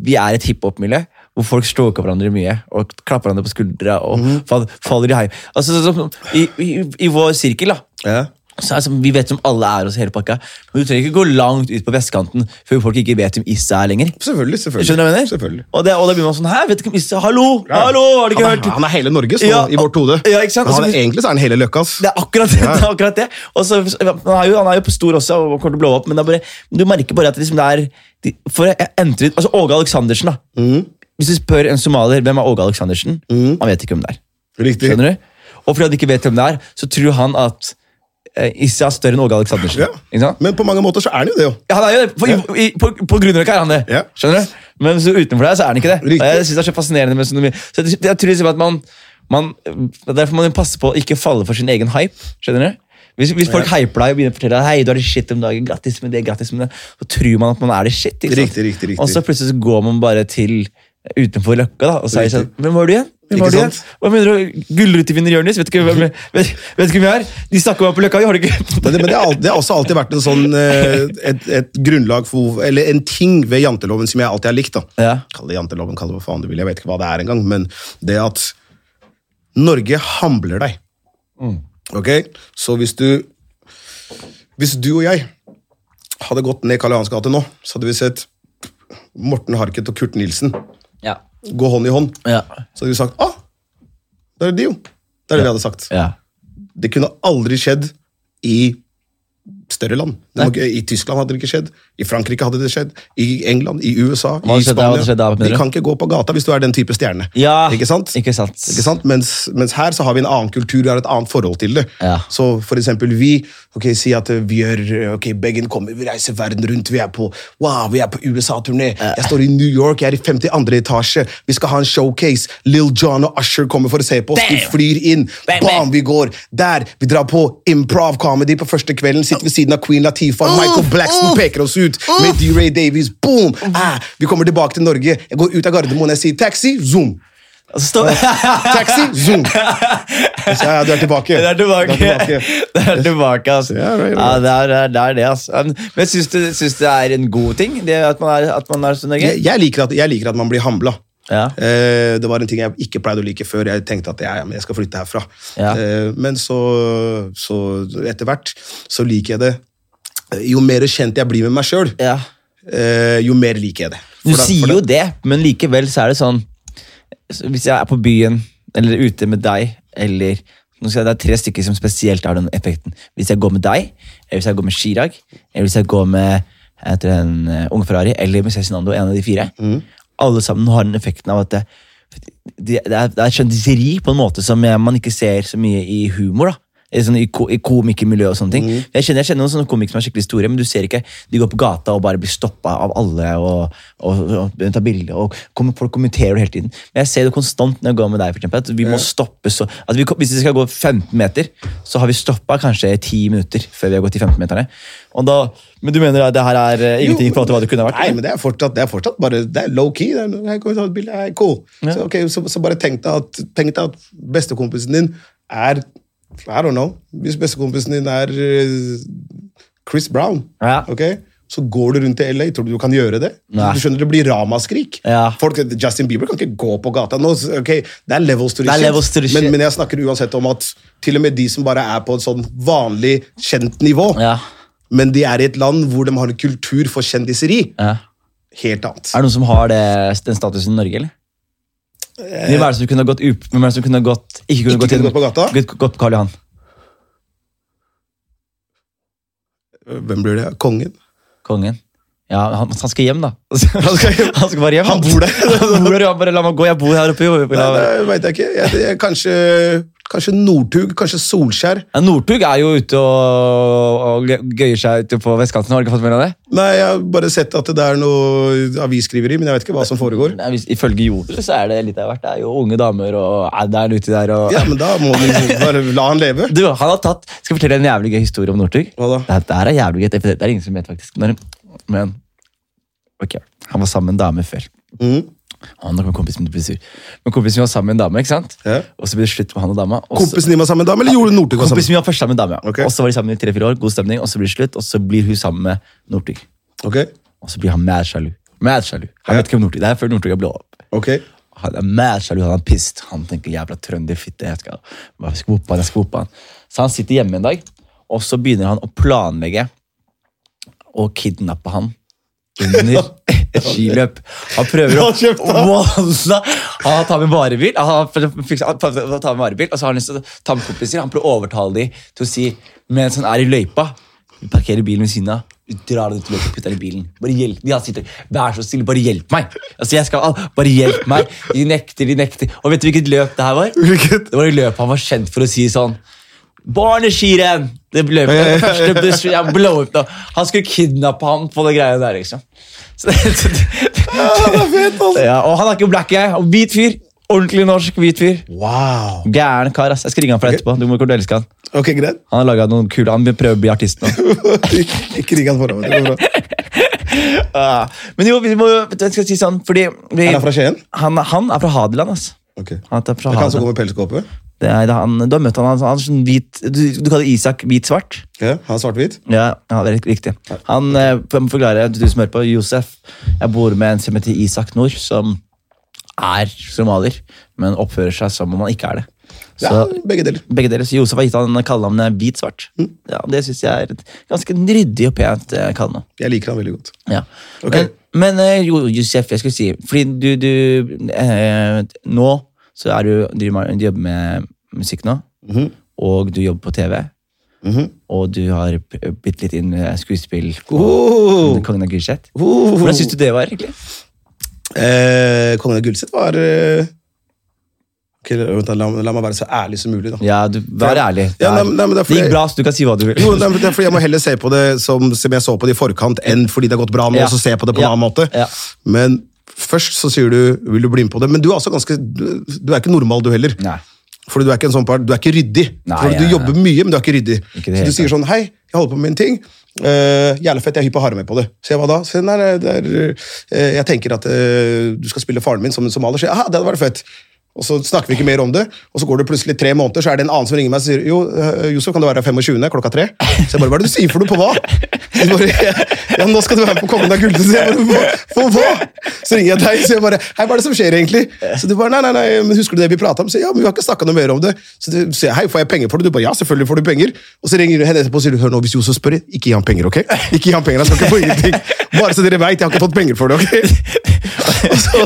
Speaker 1: Vi er et hiphop-miljø hvor folk stalker hverandre mye og klapper hverandre på skuldra og fall- faller i hei. Altså, så, så, i, i, I vår sirkel, da.
Speaker 2: Ja.
Speaker 1: Så er det som, vi vet som alle er oss hele pakka, men du trenger ikke gå langt ut på vestkanten før folk ikke vet hvem Issa er lenger.
Speaker 2: Selvfølgelig. selvfølgelig.
Speaker 1: Skjønner du hva jeg mener?
Speaker 2: Selvfølgelig.
Speaker 1: Og, det, og da blir man sånn Hæ, vet du ikke om Issa Hallo! Hallo! Har du ikke
Speaker 2: han,
Speaker 1: hørt?
Speaker 2: er, han er hele Norges nå,
Speaker 1: Ja,
Speaker 2: i vårt hode.
Speaker 1: ja, ikke sant?
Speaker 2: Men Han
Speaker 1: Altså,
Speaker 2: er, egentlig så er han hele Løkkas.
Speaker 1: Det er akkurat det. det, er akkurat det. Og så, han, er jo, han er jo på stor også og kommer til å blowe opp, men det er bare, du merker bare at det liksom det er de- for jeg entrer, altså Åge Aleksandersen. da. Hvis du spør en somalier hvem er Åge Aleksandersen, han vet ikke hvem det er.
Speaker 2: Riktig.
Speaker 1: Skjønner du? Og fordi han ikke vet hvem det er, så tror han at eh, Issa er større enn Åge Aleksandersen.
Speaker 2: Ja.
Speaker 1: Ikke sant?
Speaker 2: Men på mange måter så er han jo det, jo.
Speaker 1: Ja, han er jo det. På, i, på, på Grünerløkka er han det.
Speaker 2: Ja.
Speaker 1: Skjønner du? Men så utenfor der så er han ikke det.
Speaker 2: Riktig.
Speaker 1: Og Jeg synes det er så fascinerende med økonomi. Så jeg, jeg tror liksom at man, man det er Derfor må man passe på å ikke falle for sin egen hype. Skjønner du? Hvis, hvis folk hyper deg og begynner å fortelle deg Hei, du er det shit om dagen, grattis med det, grattis med det, så tror man at man er det shit. Ikke sant?
Speaker 2: Riktig, riktig, riktig.
Speaker 1: Og så plutselig så går man bare til utenfor Løkka da, og sier
Speaker 2: Riktig.
Speaker 1: sånn Hvem var du igjen? Hvem var
Speaker 2: Ikke
Speaker 1: du igjen?
Speaker 2: sant?
Speaker 1: Hva mener du? Gullrutevinner Jonis? Vet, ikke hvem- vet, vet ikke hvem jeg er? De snakker om meg på Løkka, har du ikke
Speaker 2: Men det, men det, har, al- det har også alltid vært en sånn, eh, et, et grunnlag for, eller en ting ved janteloven som jeg alltid har likt. da.
Speaker 1: Ja.
Speaker 2: Kall det janteloven, kall det hva faen du vil, jeg vet ikke hva det er engang. Men det at Norge hamler deg.
Speaker 1: Mm.
Speaker 2: Ok? Så hvis du Hvis du og jeg hadde gått ned Karl Johans gate nå, så hadde vi sett Morten Harket og Kurt Nilsen
Speaker 1: Ja.
Speaker 2: gå hånd i hånd.
Speaker 1: Ja.
Speaker 2: Så hadde vi sagt ah, det er de jo. Det er det vi hadde sagt.
Speaker 1: ja.
Speaker 2: Det kunne aldri skjedd i større land. Det må, ikke- I Tyskland hadde det ikke skjedd, i Frankrike hadde det skjedd, i England, i USA,
Speaker 1: hadde
Speaker 2: i
Speaker 1: skjedd der? Hva hadde
Speaker 2: Spania.
Speaker 1: skjedd der, mener
Speaker 2: de
Speaker 1: du?
Speaker 2: kan ikke gå på gata hvis du er den type stjerne.
Speaker 1: Ja,
Speaker 2: Ikke sant?
Speaker 1: Ikke sant?
Speaker 2: Ikke sant? Mens, mens her så har vi en annen kultur, vi har et annet forhold til det.
Speaker 1: Ja.
Speaker 2: Så for eksempel vi, ok, si at eh, vi gjør, eh, ok, Beggen kommer, vi reiser verden rundt, vi er på, wow, vi er på USA-turné, jeg står i New York, jeg er i 52. etasje, vi skal ha en showcase, Lil Jon og Usher kommer for å se på oss, de
Speaker 1: Damn!
Speaker 2: flyr inn,
Speaker 1: Bang, bang.
Speaker 2: bam, vi går der, vi drar på improv comedy på første kvelden, sitter ved siden av Queen Latifah, Michael Blackson peker oss ut, med D-Ray Davies, boom, ah, vi kommer tilbake til Norge, jeg går ut av Gardermoen, jeg sier taxi, zoom.
Speaker 1: Altså, stå...
Speaker 2: Taxi, zoom! Jeg sa, ja, du er tilbake.
Speaker 1: Det er tilbake.
Speaker 2: Du er tilbake.
Speaker 1: Det er tilbake, altså.
Speaker 2: Ja, right, right.
Speaker 1: Ja, det er det, er, det, er det altså. Men- Men syns du, syns du det er en god ting, det at man er, at man er sånn? Norge?
Speaker 2: Jeg, jeg, liker at, jeg liker at man blir hamla.
Speaker 1: Ja.
Speaker 2: Eh, det var en ting jeg ikke pleide å like før. Jeg tenkte at ja, ja, men jeg skal flytte herfra.
Speaker 1: Ja.
Speaker 2: Eh, men så, så etter hvert så liker jeg det. Eh, Jo mer kjent jeg blir med meg sjøl,
Speaker 1: Ja.
Speaker 2: eh, jo mer liker jeg det.
Speaker 1: Du sier jo det, men likevel så er det sånn så Hvis jeg er på byen eller ute med deg, eller nå skal jeg, Det er tre stykker som spesielt har den effekten. Hvis jeg går med deg, eller hvis jeg går med Chirag, eller hvis jeg går med jeg heter en eh, Unge Ferrari, eller med Cezinando, en av de fire Alle sammen har den effekten av at det, det, det er, det er skjønnseri på en måte som eh, man ikke ser så mye i humor. da i sånn, i, ko, I komikermiljø og sånne ting. Jeg, kjenner, jeg kjenner noen sånne komikere som er skikkelig store, men du ser ikke de går på gata og bare blir stoppa av alle og, og, og begynner å ta bilder. Og kom, folk kommenterer det hele tiden. Men jeg ser det konstant når jeg går med deg. For eksempel, at vi må stoppe så, at vi, kom- Hvis vi skal gå 15 meter, så har vi stoppa kanskje 10 minutter før vi har gått de 15 meterne. Og da, men du mener at det her er eh, ingenting i forhold til hva det kunne ha vært?
Speaker 2: Nei,
Speaker 1: eller?
Speaker 2: men det er fortsatt, det er fortsatt bare det er low key. Det er, her kan vi ta et bilde, her, cool. Så, ok, så, så bare tenk deg at, tenk deg at bestekompisen din er I don't know. Hvis bestekompisen din er eh, Chris Brown,
Speaker 1: Ja.
Speaker 2: ok, så går du rundt i LA. Tror du du kan gjøre det?
Speaker 1: Nei.
Speaker 2: Du skjøønner Det blir ramaskrik.
Speaker 1: Ja.
Speaker 2: Folk, Justin Bieber kan ikke gå på gata. nå, så- ok, det er levels to the
Speaker 1: Det er
Speaker 2: shit.
Speaker 1: levels to the shit.
Speaker 2: Men, men jeg snakker uansett om at til og med de som bare er på et sånn vanlig kjent nivå,
Speaker 1: Ja.
Speaker 2: men de er i et land hvor de har en kultur for kjendiseri
Speaker 1: Ja.
Speaker 2: helt annet.
Speaker 1: Er det noen som har det, den statusen i Norge, eller? Hvem er det som kunne ha gått, up, hvem er det som kunne ha gått, Eh. ikke kunne
Speaker 2: Ikke
Speaker 1: gått,
Speaker 2: kunne
Speaker 1: inn-
Speaker 2: gått på gata?
Speaker 1: Gått, gått på Karl Johan.
Speaker 2: Eh, Hvem blir det? Kongen?
Speaker 1: Kongen. Ja, han, han skal hjem, da. Han
Speaker 2: skal hjem.
Speaker 1: han skal bare hjem.
Speaker 2: Han bor der.
Speaker 1: Han bor der, han bare, la meg gå, jeg bor her oppe. jo».
Speaker 2: Nei, det veit jeg ikke. Jeg, jeg, kanskje, kanskje Northug? Kanskje Solskjær?
Speaker 1: Ja, Northug er jo ute og, og gøyer seg ute på vestkanten. Har du ikke fått med deg det?
Speaker 2: Nei, jeg har bare sett at det er noe avisskriveri, men jeg vet ikke hva som foregår.
Speaker 1: Nei, hvis, ifølge Jodel så er det litt av hvert. Det er jo unge damer og adderen uti der. Og...
Speaker 2: Ja, men da må du bare la han leve.
Speaker 1: Du, han har tatt, Skal jeg fortelle en jævlig gøy historie om Northug?
Speaker 2: Hva da?
Speaker 1: Det her er jævlig gøy, det det er ingen som vet faktisk. Når, men ok, han var sammen med en dame før.
Speaker 2: Mhm.
Speaker 1: Han og kompisen min ble sur. Men kompisen min var sammen med en dame, ikke sant?
Speaker 2: Ja.
Speaker 1: Og så ble det slutt med han og dama. og så-
Speaker 2: Kompisen din var sammen med dame, eller gjorde Northug var sammen?
Speaker 1: Kompisen min var først sammen med en dame, ja.
Speaker 2: Ok.
Speaker 1: Og så var de sammen i tre-fire år, god stemning, og så blir det slutt, og så blir hun sammen med Northug.
Speaker 2: Ok,
Speaker 1: Og så blir han mad sjalu. Mad sjalu. Han
Speaker 2: Ja.
Speaker 1: vet ikke om Northug det er, før Northug er blå opp.
Speaker 2: ok.
Speaker 1: Han er mad sjalu, han er pissed. Han tenker jævla trønderfitte. Jeg skal, jeg skal whoppe han, jeg skal whoppe han. Så han sitter hjemme en dag, og så begynner han å planlegge å kidnappe han under et skiløp. Han prøver å
Speaker 2: Han kjøpte han.
Speaker 1: Wallah! Han tar med varebil, han fikser- han tar med varebil, og så har han lyst til å ta med kompiser. Han prøver å overtale dem til å si mens han er i løypa vi parkerer bilen ved siden av, vi drar den ut i løypa, putter den i bilen. Bare hjelp, de sitter, Vær så snill, bare hjelp meg! Altså, jeg skal, al- bare hjelp meg! De nekter, de nekter. Og vet du hvilket løp det her var?
Speaker 2: Hvilket?
Speaker 1: Det var et løp han var kjent for å si sånn Barneskirenn! Det løpet det var første buss, jeg blow up da. Han skulle kidnappe ham på det greia der, liksom. Så det, så det, altså. ja, og han er ikke black, jeg. Og hvit fyr. Ordentlig norsk hvit fyr.
Speaker 2: Wow.
Speaker 1: Gæren kar, ass. Jeg skal ringe han for deg etterpå. Du må ikke elske han.
Speaker 2: Ok, greit.
Speaker 1: Han har laget noen kule Han prøver å bli artist nå.
Speaker 2: Ikke ring han foran meg. det går bra.
Speaker 1: Ah, Men jo, vi må vet du hva jeg skal si sånn, fordi vi,
Speaker 2: Er han fra Skien?
Speaker 1: han, han er fra Hadeland, ass.
Speaker 2: Ok. Det
Speaker 1: Han er fra
Speaker 2: er ikke han
Speaker 1: Hadeland.
Speaker 2: som går med pelskåpe?
Speaker 1: Det er, det er han, du har møtt han, han, han er sånn hvit Du, du kaller Isak hvit-svart?
Speaker 2: Ja, han er svart-hvit?
Speaker 1: Ja, ja det er rikt- riktig. Han eh, for- må forklare, du som hører på, Josef. Jeg bor med en som heter Isak Nord, som er somalier, men oppfører seg som om han ikke er det. Så
Speaker 2: Ja, begge deler.
Speaker 1: begge dere, så Josef har gitt han kallenavnet Hvit-svart.
Speaker 2: Mm.
Speaker 1: Ja, det syns jeg er et ganske ryddig og pent eh, kallenavn.
Speaker 2: Jeg liker han veldig godt.
Speaker 1: Ja.
Speaker 2: Ok.
Speaker 1: Men, men eh, jo, Josef, jeg skulle si Fordi du, du eh, Nå så er du, du jobber med musikk nå,
Speaker 2: Mhm.
Speaker 1: og du jobber på TV. Og du har p- bitt litt inn eh, skuespill på
Speaker 2: Oh.
Speaker 1: Kongen av Gulset.
Speaker 2: Oh.
Speaker 1: Hvordan syns du det var? egentlig?
Speaker 2: Eh, Kongen av Gulset var eh... ok, vent, da, la, la meg være så ærlig som mulig, da.
Speaker 1: Ja, du, Vær ærlig. Det,
Speaker 2: Ja,
Speaker 1: er-
Speaker 2: nei, men- nei, men det er
Speaker 1: det
Speaker 2: fordi-
Speaker 1: gikk bra, så du kan si hva du vil.
Speaker 2: Jo, det er- det er fordi Jeg må heller se på det som, som jeg så på det i forkant, enn fordi det har gått bra nå.
Speaker 1: Ja.
Speaker 2: og så se på det på en
Speaker 1: Ja.
Speaker 2: annen måte.
Speaker 1: Ja.
Speaker 2: Men først så sier du 'vil du bli med på det', men du er, altså ganske, du, du er ikke normal, du heller.
Speaker 1: Nei.
Speaker 2: Fordi du er ikke en sånn part, du er ikke ryddig.
Speaker 1: Nei,
Speaker 2: Fordi du
Speaker 1: nei, nei.
Speaker 2: jobber mye, men du er ikke ryddig.
Speaker 1: Ikke det hele
Speaker 2: så du sier sånn Hei, jeg holder på med en ting. Uh, jævla fett, jeg er hypp på å ha deg med på det. Så jeg hva da? Så, nei, nei, det er, eh, jeg tenker at eh, du skal spille faren min som en somalier. Så jeg, «Ah, det hadde vært fett. Og så snakker vi ikke mer om det, og så går det plutselig tre måneder, så er det en annen som ringer meg og sier jo, eh, Josef, kan du være her 25. klokka tre? Så jeg bare, hva er det du sier for noe på hva? Så jeg bare, ja, nå skal du være med på Kongen av Gulset. Så jeg bare, «Hva- for hva? Så ringer jeg deg, så jeg bare, hei, hva er det som skjer egentlig? Så du bare, nei, nei, nei, men husker du det vi pratet om? Så jeg, ja, men vi har ikke snakket noe mer om det. Så du sier, jeg, hei, får jeg penger for det? Du bare, ja, selvfølgelig får du penger. Og så ringer du henne etterpå og sier, du, hør nå, hvis Josef spør, ikke gi ham penger, ok? Ikke gi ham penger, han skal ikke få ingenting. Bare så dere vet, jeg har ikke fått penger for det, ok? Og så,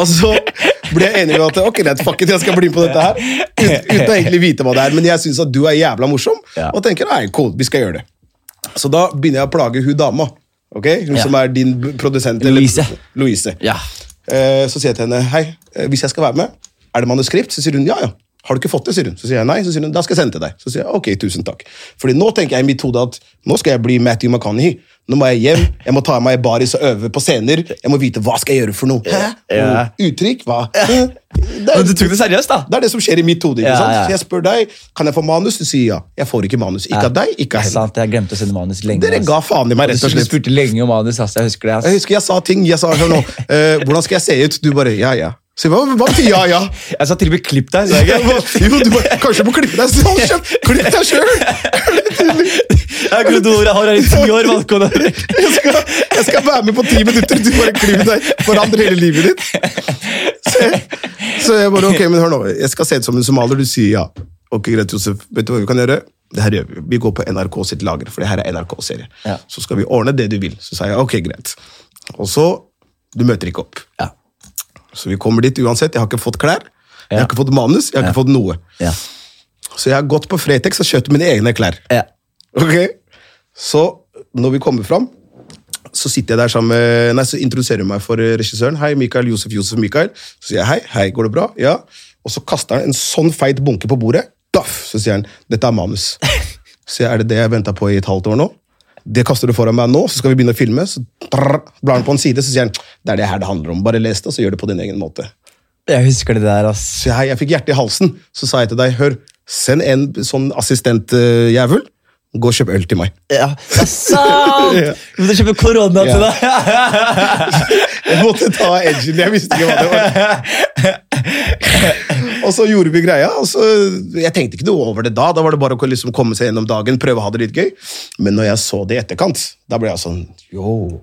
Speaker 2: og så ble jeg enig med at, ok, det er fuck it, jeg skal bli med på dette her. Uten, uten å egentlig vite hva det er, men jeg synes at du er jævla morsom,
Speaker 1: Ja.
Speaker 2: og tenker, nei, cool, vi skal gjøre det. Så da begynner jeg å plage hun dama, ok? Hun
Speaker 1: Ja.
Speaker 2: som er din produsent. eller-
Speaker 1: Louise.
Speaker 2: Louise.
Speaker 1: Ja.
Speaker 2: Eh, Så sier jeg til henne Hei, eh, hvis jeg skal være med, er det manuskript? Så sier hun ja, ja. Har du ikke fått det? sier hun. Så sier jeg nei, så sier hun da skal jeg sende til deg. Så sier jeg ok, tusen takk. Fordi nå tenker jeg i mitt hode at nå skal jeg bli Matthew McConaughey. Nå må jeg hjem, jeg må ta meg i baris og øve på scener. Jeg må vite hva skal jeg gjøre for noe. Hæ?
Speaker 1: Ja.
Speaker 2: Og Uttrykk? Hva? Hæ? Det
Speaker 1: Men
Speaker 2: er,
Speaker 1: du tok det seriøst, da?
Speaker 2: det er det som skjer i mitt hode. ikke
Speaker 1: Ja,
Speaker 2: sant?
Speaker 1: ja.
Speaker 2: Så jeg spør deg kan jeg få manus. Du sier ja. Jeg får ikke manus. Ikke av deg, ikke av henne.
Speaker 1: Sant, jeg glemte å sende manus lenge.
Speaker 2: Dere
Speaker 1: ass.
Speaker 2: ga faen i meg, rett og
Speaker 1: Du
Speaker 2: slett.
Speaker 1: spurte lenge om manus, ass. Jeg husker det. altså. ass.
Speaker 2: Jeg husker jeg sa ting. Jeg sa hør nå, eh, hvordan skal jeg se ut? Du bare ja, ja. Så jeg bare, hva betyr ja, ja?
Speaker 1: Jeg sa til og med klipp deg. sa jeg
Speaker 2: Jeg
Speaker 1: ikke?
Speaker 2: bare, Jo, du bare, kanskje du må klippe deg selv? Kjøp, klipp deg sjøl!
Speaker 1: Jeg har grodd hår her i ti år. Valgkone.
Speaker 2: Jeg, skal- jeg skal være med på ti minutter, du bare klipp deg. Forandre hele livet ditt. Så jeg, så jeg bare, ok, men hør nå. Jeg skal se ut som en somalier, du sier ja. Ok, greit, Josef. Vet du hva vi kan gjøre? Det her gjør Vi Vi går på NRK sitt lager, for det her er NRK-serie.
Speaker 1: Ja.
Speaker 2: Så skal vi ordne det du vil. Så sa jeg ok, greit. Og så Du møter ikke opp.
Speaker 1: Ja.
Speaker 2: Så vi kommer dit uansett. Jeg har ikke fått klær, jeg har
Speaker 1: Ja.
Speaker 2: ikke fått manus, jeg har ikke fått noe.
Speaker 1: Ja.
Speaker 2: Så jeg har gått på Fretex og kjøpt mine egne klær.
Speaker 1: Ja.
Speaker 2: Ok? Så når vi kommer fram, så sitter jeg der sammen med, nei, så introduserer hun meg for eh, regissøren. Hei, Mikael, Josef, Josef, Mikael. Så sier jeg hei, hei, går det bra? Ja. Og så kaster han en sånn feit bunke på bordet. Daff! Så sier han, dette er manus. Så sier jeg, er det det jeg ventet på i et halvt år nå? Det kaster du foran meg nå, så skal vi begynne å filme. Så trrr, blar han på en side, så sier han, det er det her det handler om. Bare les det, og så gjør det på din egen måte.
Speaker 1: Jeg husker det der, altså. ass.
Speaker 2: Så jeg, jeg fikk hjertet i halsen, så sa jeg til deg, hør, send en sånn assistentjævel, gå og kjøp øl til meg.
Speaker 1: Ja, det er sant! Du måtte kjøpe korona til
Speaker 2: Ja.
Speaker 1: deg.
Speaker 2: Jeg måtte ta edgen, jeg visste ikke hva det var. Og så gjorde vi greia, og så, jeg tenkte ikke noe over det da, da var det bare å liksom komme seg gjennom dagen, prøve å ha det litt gøy. Men når jeg så det i etterkant, da ble jeg sånn, jo,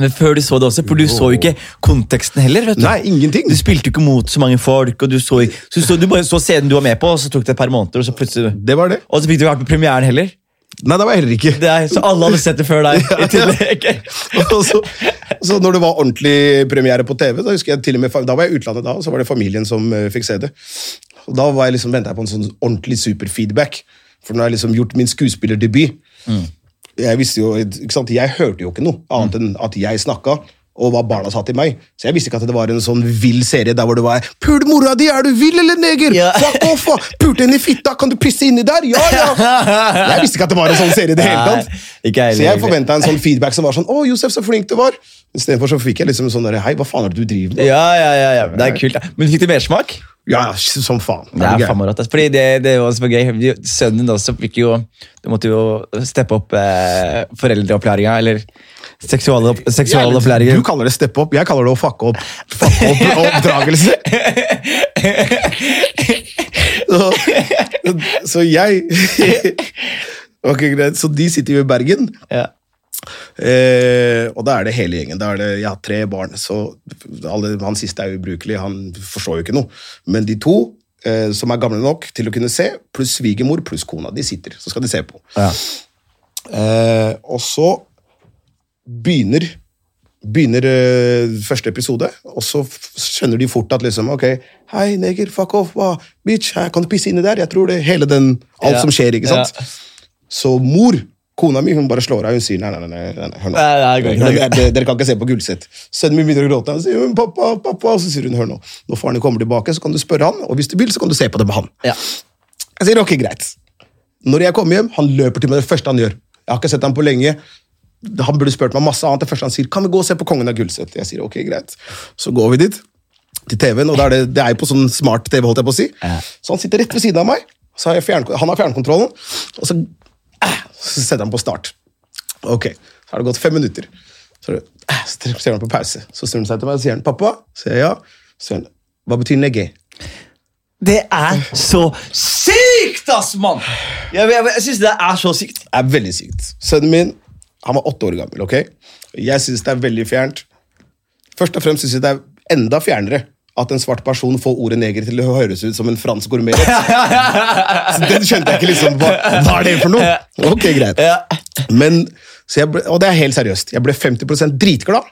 Speaker 1: Men før du så det også, for du så jo ikke konteksten heller. vet du.
Speaker 2: Nei, ingenting.
Speaker 1: Du spilte jo ikke mot så mange folk, og du så, ikke- så, du så du bare så scenen du var med på, og så tok det et par måneder, og så plutselig...
Speaker 2: det var det.
Speaker 1: Og så fikk du ikke vært på premieren heller.
Speaker 2: Nei, det var jeg heller ikke.
Speaker 1: Det er, så alle hadde sett det før deg. i tillegg.
Speaker 2: og så, så når det var ordentlig premiere på TV, da husker jeg til og med, da var jeg i utlandet da, og så var det familien som eh, fikk se det. Og da var jeg liksom, ventet jeg på en sånn ordentlig super feedback, for nå har jeg liksom gjort min skuespillerdebut.
Speaker 1: Mm.
Speaker 2: Jeg visste jo, ikke sant, jeg hørte jo ikke noe, annet enn at jeg snakket, og hva barna sa til meg. Så jeg visste ikke at det var en sånn vild serie der hvor det var Pult mora di, er du vill eller neger?
Speaker 1: Ja.
Speaker 2: Fuck off! ah! Pult henne i fitta, kan du pisse inni der? Ja, ja! Jeg visste ikke at det var en sånn serie i det hele
Speaker 1: Nei,
Speaker 2: tatt.
Speaker 1: ikke jeg
Speaker 2: Så jeg
Speaker 1: heller.
Speaker 2: forventa en sånn feedback som var sånn 'Å, Josef, så flink du var'. Istedenfor så fikk jeg liksom sånn der, 'Hei, hva faen er det du driver med?'
Speaker 1: Ja, ja, ja, ja. Det er kult. da. Men fikk du mersmak?
Speaker 2: Ja, ja, som faen.
Speaker 1: Det
Speaker 2: gøy?
Speaker 1: er faen meg rått. ass. Fordi det, det var også gøy. Vi- Sønnen din også fikk jo Du måtte jo steppe opp eh, foreldreopplæringa, eller seksualopp- seksualopplæringen.
Speaker 2: Du kaller det steppe opp, jeg kaller det å fucke opp. Fucke opp og oppdragelse. Så, så jeg Ok, greit. Så de sitter jo i Bergen.
Speaker 1: Ja.
Speaker 2: Eh, og da er det hele gjengen. Da er det, Jeg har tre barn, så alle, han siste er ubrukelig. Han forstår jo ikke noe. Men de to eh, som er gamle nok til å kunne se, pluss svigermor pluss kona, de sitter. Så skal de se på.
Speaker 1: Ja.
Speaker 2: Eh, og så begynner, begynner eh, første episode, og så f- skjønner de fort at liksom, ok, hei, neger, fuck off, hva, bitch, her, kan du pisse inni der? Jeg tror det hele den, alt
Speaker 1: Ja.
Speaker 2: som skjer, ikke sant?
Speaker 1: Ja.
Speaker 2: Så mor, kona mi, hun bare slår av, hun sier, nei, nei, nei, nei, nei, hør nå.
Speaker 1: Nei, nei, det går ikke.
Speaker 2: Dere- dere- Dere kan ikke se på gullsett. Sønnen min begynner å gråte, han sier, «Men pappa, pappa, og så sier hun, hør nå, når faren din kommer tilbake, så kan du spørre han, og hvis du vil, så kan du se på det med han.
Speaker 1: Ja.
Speaker 2: Jeg sier ok, greit. Når jeg kommer hjem, han løper til meg det første han gjør. Jeg har ikke sett ham på lenge. Han burde spurt meg masse annet. Det første han sier, kan vi gå og se på Kongen av Gullset? Jeg sier ok, greit. Så går vi dit, til TV-en, og da er det, det er jo på sånn smart TV, holdt jeg på å si. Så han sitter rett ved siden av meg, så har jeg fjern, han har fjernkontrollen, og så, eh, så setter han på start. Ok, så har det gått fem minutter. Så, er det, eh, så ser han på pause. Så snur han seg til meg og sier han, pappa, så sier jeg ja. Så sier han, hva betyr negge?
Speaker 1: Det er så sykt, ass, mann! Jeg, jeg, jeg syns det er så sykt.
Speaker 2: er veldig sykt. Sønnen min han var åtte år gammel. ok? Jeg syns det er veldig fjernt. Først og fremst syns jeg det er enda fjernere at en svart person får ordet neger til å høres ut som en fransk gourmet. Så den skjønte jeg ikke, liksom. Hva, hva er det for noe? Ok, greit.
Speaker 1: Ja.
Speaker 2: Men, så jeg ble, Og det er helt seriøst. Jeg ble 50 dritglad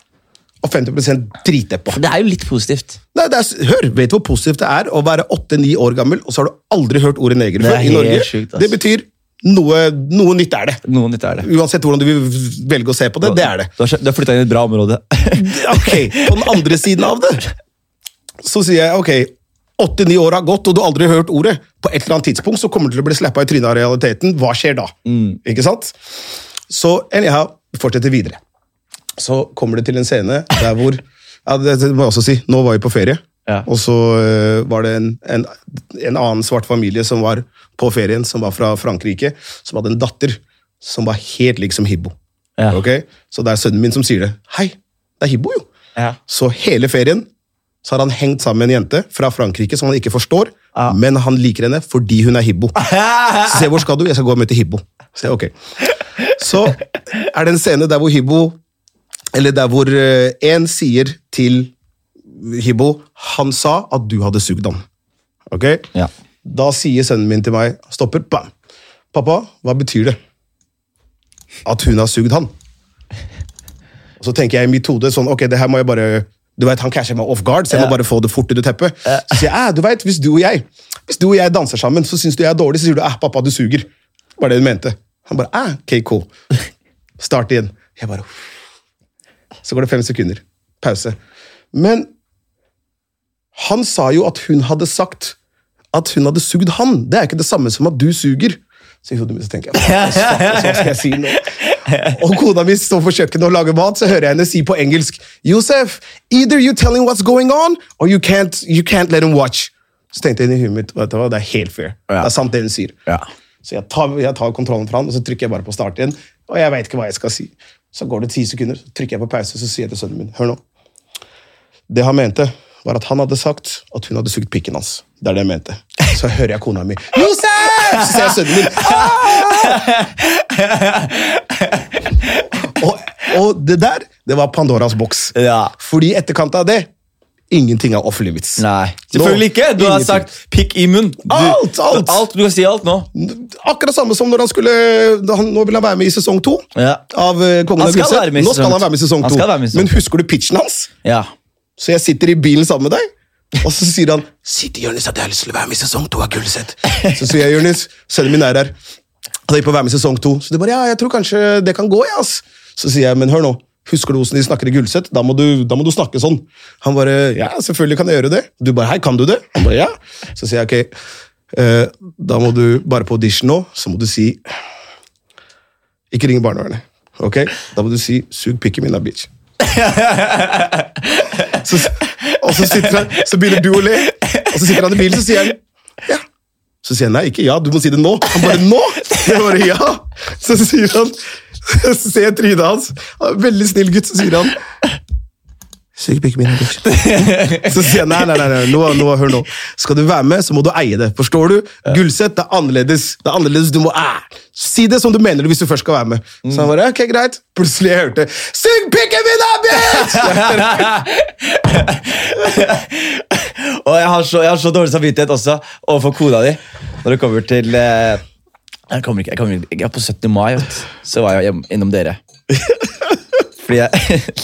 Speaker 2: og 50 dritdeppa.
Speaker 1: Det er jo litt positivt.
Speaker 2: Nei, det er, hør, Vet du hvor positivt det er å være 8-9 år gammel, og så har du aldri hørt ordet neger
Speaker 1: Det er
Speaker 2: før i
Speaker 1: helt
Speaker 2: Norge?
Speaker 1: sjukt, ass.
Speaker 2: det betyr noe, noe nytt er det.
Speaker 1: Noe nytt er det.
Speaker 2: Uansett hvordan du vil velge å se på det, det er det.
Speaker 1: Du har, skjø- du har flytta inn i et bra område.
Speaker 2: Ok, På den andre siden av det, så sier jeg ok, 8-9 år har gått, og du har aldri hørt ordet. På et eller annet tidspunkt så kommer du til å bli slappa i trynet av realiteten. Hva skjer da? Ikke sant? Så anyhow, vi fortsetter videre. Så kommer det til en scene der hvor ja, det, det må jeg også si, Nå var vi på ferie,
Speaker 1: Ja.
Speaker 2: og så eh, var det en, en, en annen svart familie som var på ferien, som var fra Frankrike, som hadde en datter som var helt lik som Hibbo.
Speaker 1: Ja.
Speaker 2: Ok? Så det er sønnen min som sier det. Hei, det er Hibbo, jo!
Speaker 1: Ja.
Speaker 2: Så hele ferien så har han hengt sammen med en jente fra Frankrike som han ikke forstår, men han liker henne fordi hun er hibbo. Så se, hvor skal du? Jeg skal gå og møte hibbo. Så, jeg, ok. så er det en scene der hvor hibbo Eller der hvor én sier til hibbo Han sa at du hadde sugd han. Ok?
Speaker 1: Ja.
Speaker 2: Da sier sønnen min til meg, stopper, bam. Pappa, hva betyr det? At hun har sugd han. Og så tenker jeg i mitt hode sånn, ok, det her må jeg bare du vet, Han casher meg off guard, så jeg må bare få det fort under teppet. Så sier jeg, «Æ, du vet, 'Ah, hvis du og jeg hvis du og jeg danser sammen, så syns du jeg er dårlig, så sier du eh, pappa, du suger. Var det hun mente. Han bare ah, OK, cool. Start igjen. Jeg bare uff. Så går det fem sekunder. Pause. Men han sa jo at hun hadde sagt at hun hadde sugd han. Det er ikke det samme som at du suger. Så i hodet mitt så tenker jeg altså. hva stakkars, hva skal jeg si nå? Og kona mi står på kjøkkenet og lager mat, så hører jeg henne si på engelsk Josef, either you tell him what's going on, or you can't, you can't let him watch. Så tenkte jeg inni huet mitt vet du hva, det er helt fair.
Speaker 1: Ja.
Speaker 2: Det er sant, det hun sier.
Speaker 1: Ja.
Speaker 2: Så jeg tar, jeg tar kontrollen fra han, og så trykker jeg bare på start igjen. Og jeg vet ikke hva jeg skal si. Så går det ti sekunder, så trykker jeg på pause, så sier jeg til sønnen min Hør nå. Det han mente, var at han hadde sagt at hun hadde sugd pikken hans. Det er det jeg mente. Så hører jeg kona mi Josef! Så ser jeg sønnen min. «Ah!» Og, og det der, det var Pandoras boks.
Speaker 1: Ja.
Speaker 2: Fordi i etterkant av det, ingenting er off limits.
Speaker 1: Nei.
Speaker 3: Selvfølgelig ikke! Du har
Speaker 2: Ingenting.
Speaker 3: sagt pikk i munn. Du,
Speaker 2: Alt, alt.
Speaker 3: Du kan si alt nå.
Speaker 2: Akkurat samme som når han skulle han, Nå vil han være med i sesong to.
Speaker 1: Ja.
Speaker 2: Av eh, Kongen
Speaker 1: Han
Speaker 2: av
Speaker 1: skal
Speaker 2: Gulset.
Speaker 1: være med i
Speaker 2: Nå
Speaker 1: sesong
Speaker 2: skal han
Speaker 1: to.
Speaker 2: være med i sesong
Speaker 1: Han
Speaker 2: to.
Speaker 1: skal være med i sesong
Speaker 2: Men husker du pitchen hans?
Speaker 1: Ja.
Speaker 2: Så jeg sitter i bilen sammen med deg, og så sier han Sitt i Jonis, at jeg har lyst til å være med i sesong to av Gulset. Så sier jeg Jonis, sønnen min er her. Han er på å være med i sesong to. Så de bare Ja, jeg tror kanskje det kan gå, ja, ass. Så sier jeg, men hør nå. Husker du hvordan de snakker i Gulset? Da, må du- da må du snakke sånn. Han bare Ja, selvfølgelig kan jeg gjøre det. Du bare Hei, kan du det? Han bare Ja. Så sier jeg ok, eh, da må du bare på audition nå, så må du si Ikke ring barnevernet. Ok? Da må du si 'sug pikken min, da, bitch'. Så, og så, sitter han, så begynner du å le, og så sitter han i bilen, så sier han ja. Så sier han nei, ikke ja, du må si det nå. Han bare nå! Jeg bare ja. Så sier han Så ser jeg trynet hans. Han er en veldig snill gutt, så sier han Sug pikken min, bitch. Så sier jeg nei, nei, nei, nei. Nå, nå, hør nå. Skal du være med, så må du eie det. Forstår du? Gullsett, det er annerledes. Det er annerledes, du må æ. Si det som du mener det hvis du først skal være med. Så han bare, ok, greit. Plutselig jeg hørte Sug pikken min, da, bitch!
Speaker 1: Og jeg har, så, jeg har så dårlig samvittighet også overfor kona di når det kommer til eh, Jeg kommer ikke, jeg kommer ikke jeg er På 17. mai vet du, så var jeg hjem, innom dere. Fordi jeg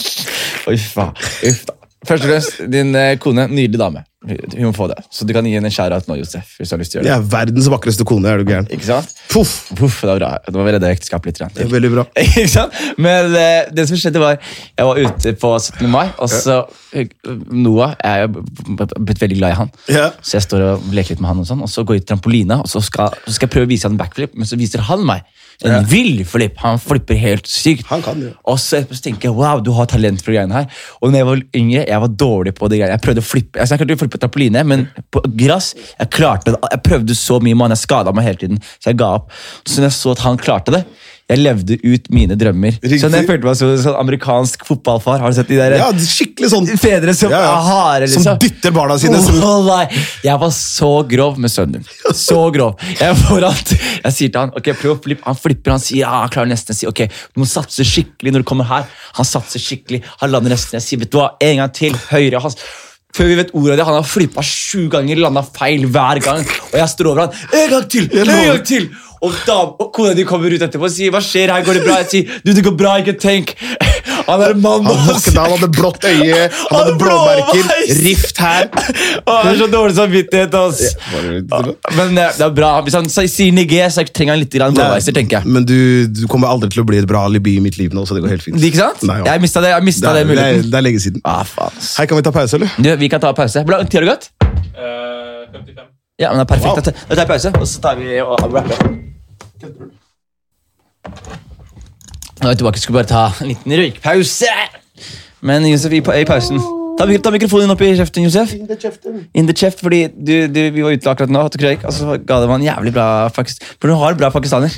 Speaker 1: Oi, faen. Uff, da. Først og fremst, din eh, kone, nydelig dame. Hun hun må få det. Så du kan gi henne en shout-out nå, Josef. hvis du har lyst til å gjøre det.
Speaker 2: Jeg er verdens vakreste kone, er du gæren.
Speaker 1: Ikke sant?
Speaker 2: Puff,
Speaker 1: Puff, det var bra. Nå må vi redde ekteskapet litt. grann.
Speaker 2: det er veldig bra.
Speaker 1: Ikke sant? Men eh, det som skjedde var Jeg var ute på 17. mai Og så eh, Noah Jeg er jo blitt veldig glad i han
Speaker 2: Ja.
Speaker 1: Så jeg står og leker litt med han og sånn Og så går jeg i trampolina Og så skal, så skal jeg prøve å vise han en backflip Men så viser han meg En vill flip Han flipper helt sykt
Speaker 2: Han kan det, ja.
Speaker 1: Og så etterpå så tenker jeg Wow, du har talent for de greiene her Og når jeg var yngre Jeg var dårlig på de greiene Jeg prøvde å flippe Altså jeg klarte å flippe trampoline Men på grass Jeg klarte det Jeg prøvde så mye Man, jeg skadet meg hele tiden Så jeg ga opp Så når jeg så at han klarte det jeg levde ut mine drømmer.
Speaker 2: Riktig.
Speaker 1: Sånn, jeg følte meg som en sånn amerikansk fotballfar. Har du sett de der
Speaker 2: Ja, skikkelig sånn
Speaker 1: fedre som
Speaker 2: Ja,
Speaker 1: ja,
Speaker 2: ja.
Speaker 1: harde, liksom?
Speaker 2: Som dytter barna sine, som-
Speaker 1: Åh, nei. Jeg var så grov med sønnen din. Så grov. Jeg, er foran, jeg sier til han ok, prøv å flippe. Han flipper, han sier ja, han klarer nesten å si ok, du må satse skikkelig når du kommer her. Han satser skikkelig, han lander nesten. Jeg sier vet du hva, en gang til, høyre. Han, før vi vet ordet av det, han har flippa sju ganger, landa feil hver gang. Og jeg står over han. En gang til! En
Speaker 2: lover.
Speaker 1: gang til! Og, da, og kona di kommer ut etterpå og sier hva skjer her, går det bra? Jeg sier du, det går bra, ikke tenk. Han er en mann,
Speaker 2: Han
Speaker 1: ass.
Speaker 2: våkna, han hadde blått øye, han hadde
Speaker 1: hadde
Speaker 2: blåmerker,
Speaker 1: blåveis.
Speaker 2: rift her.
Speaker 1: Å, jeg har så dårlig samvittighet, ass. Men eh, det er bra. Hvis han sier sier Niger, så trenger han litt grann blåveiser, tenker jeg.
Speaker 2: Men du, du kommer aldri til å bli et bra alibi i mitt liv nå, så det går helt fint.
Speaker 1: Ikke sant?
Speaker 2: Nei, ja.
Speaker 1: Jeg mista det, jeg
Speaker 2: det,
Speaker 1: mistet
Speaker 2: er,
Speaker 1: det
Speaker 2: det, er,
Speaker 1: muligheten.
Speaker 2: det er lenge siden.
Speaker 1: Ah, faen. ass.
Speaker 2: Hei, kan vi ta pause, eller?
Speaker 1: Du, vi kan ta pause. Hvor lang tid har det gått?
Speaker 4: Eh, 55.
Speaker 1: Ja, men det er
Speaker 2: Wow.
Speaker 1: perfekt. Da tar jeg pause, og så tar vi og rapper. Nå er vi tilbake. Skulle bare ta en liten røykpause. Men Josef, i, pa- i pausen Ta, mik- ta mikrofonen opp i kjeften, Josef. In the cheft, fordi du, du, Vi var ute akkurat nå, og og så ga det meg en jævlig bra pakis- For du har bra pakistaner.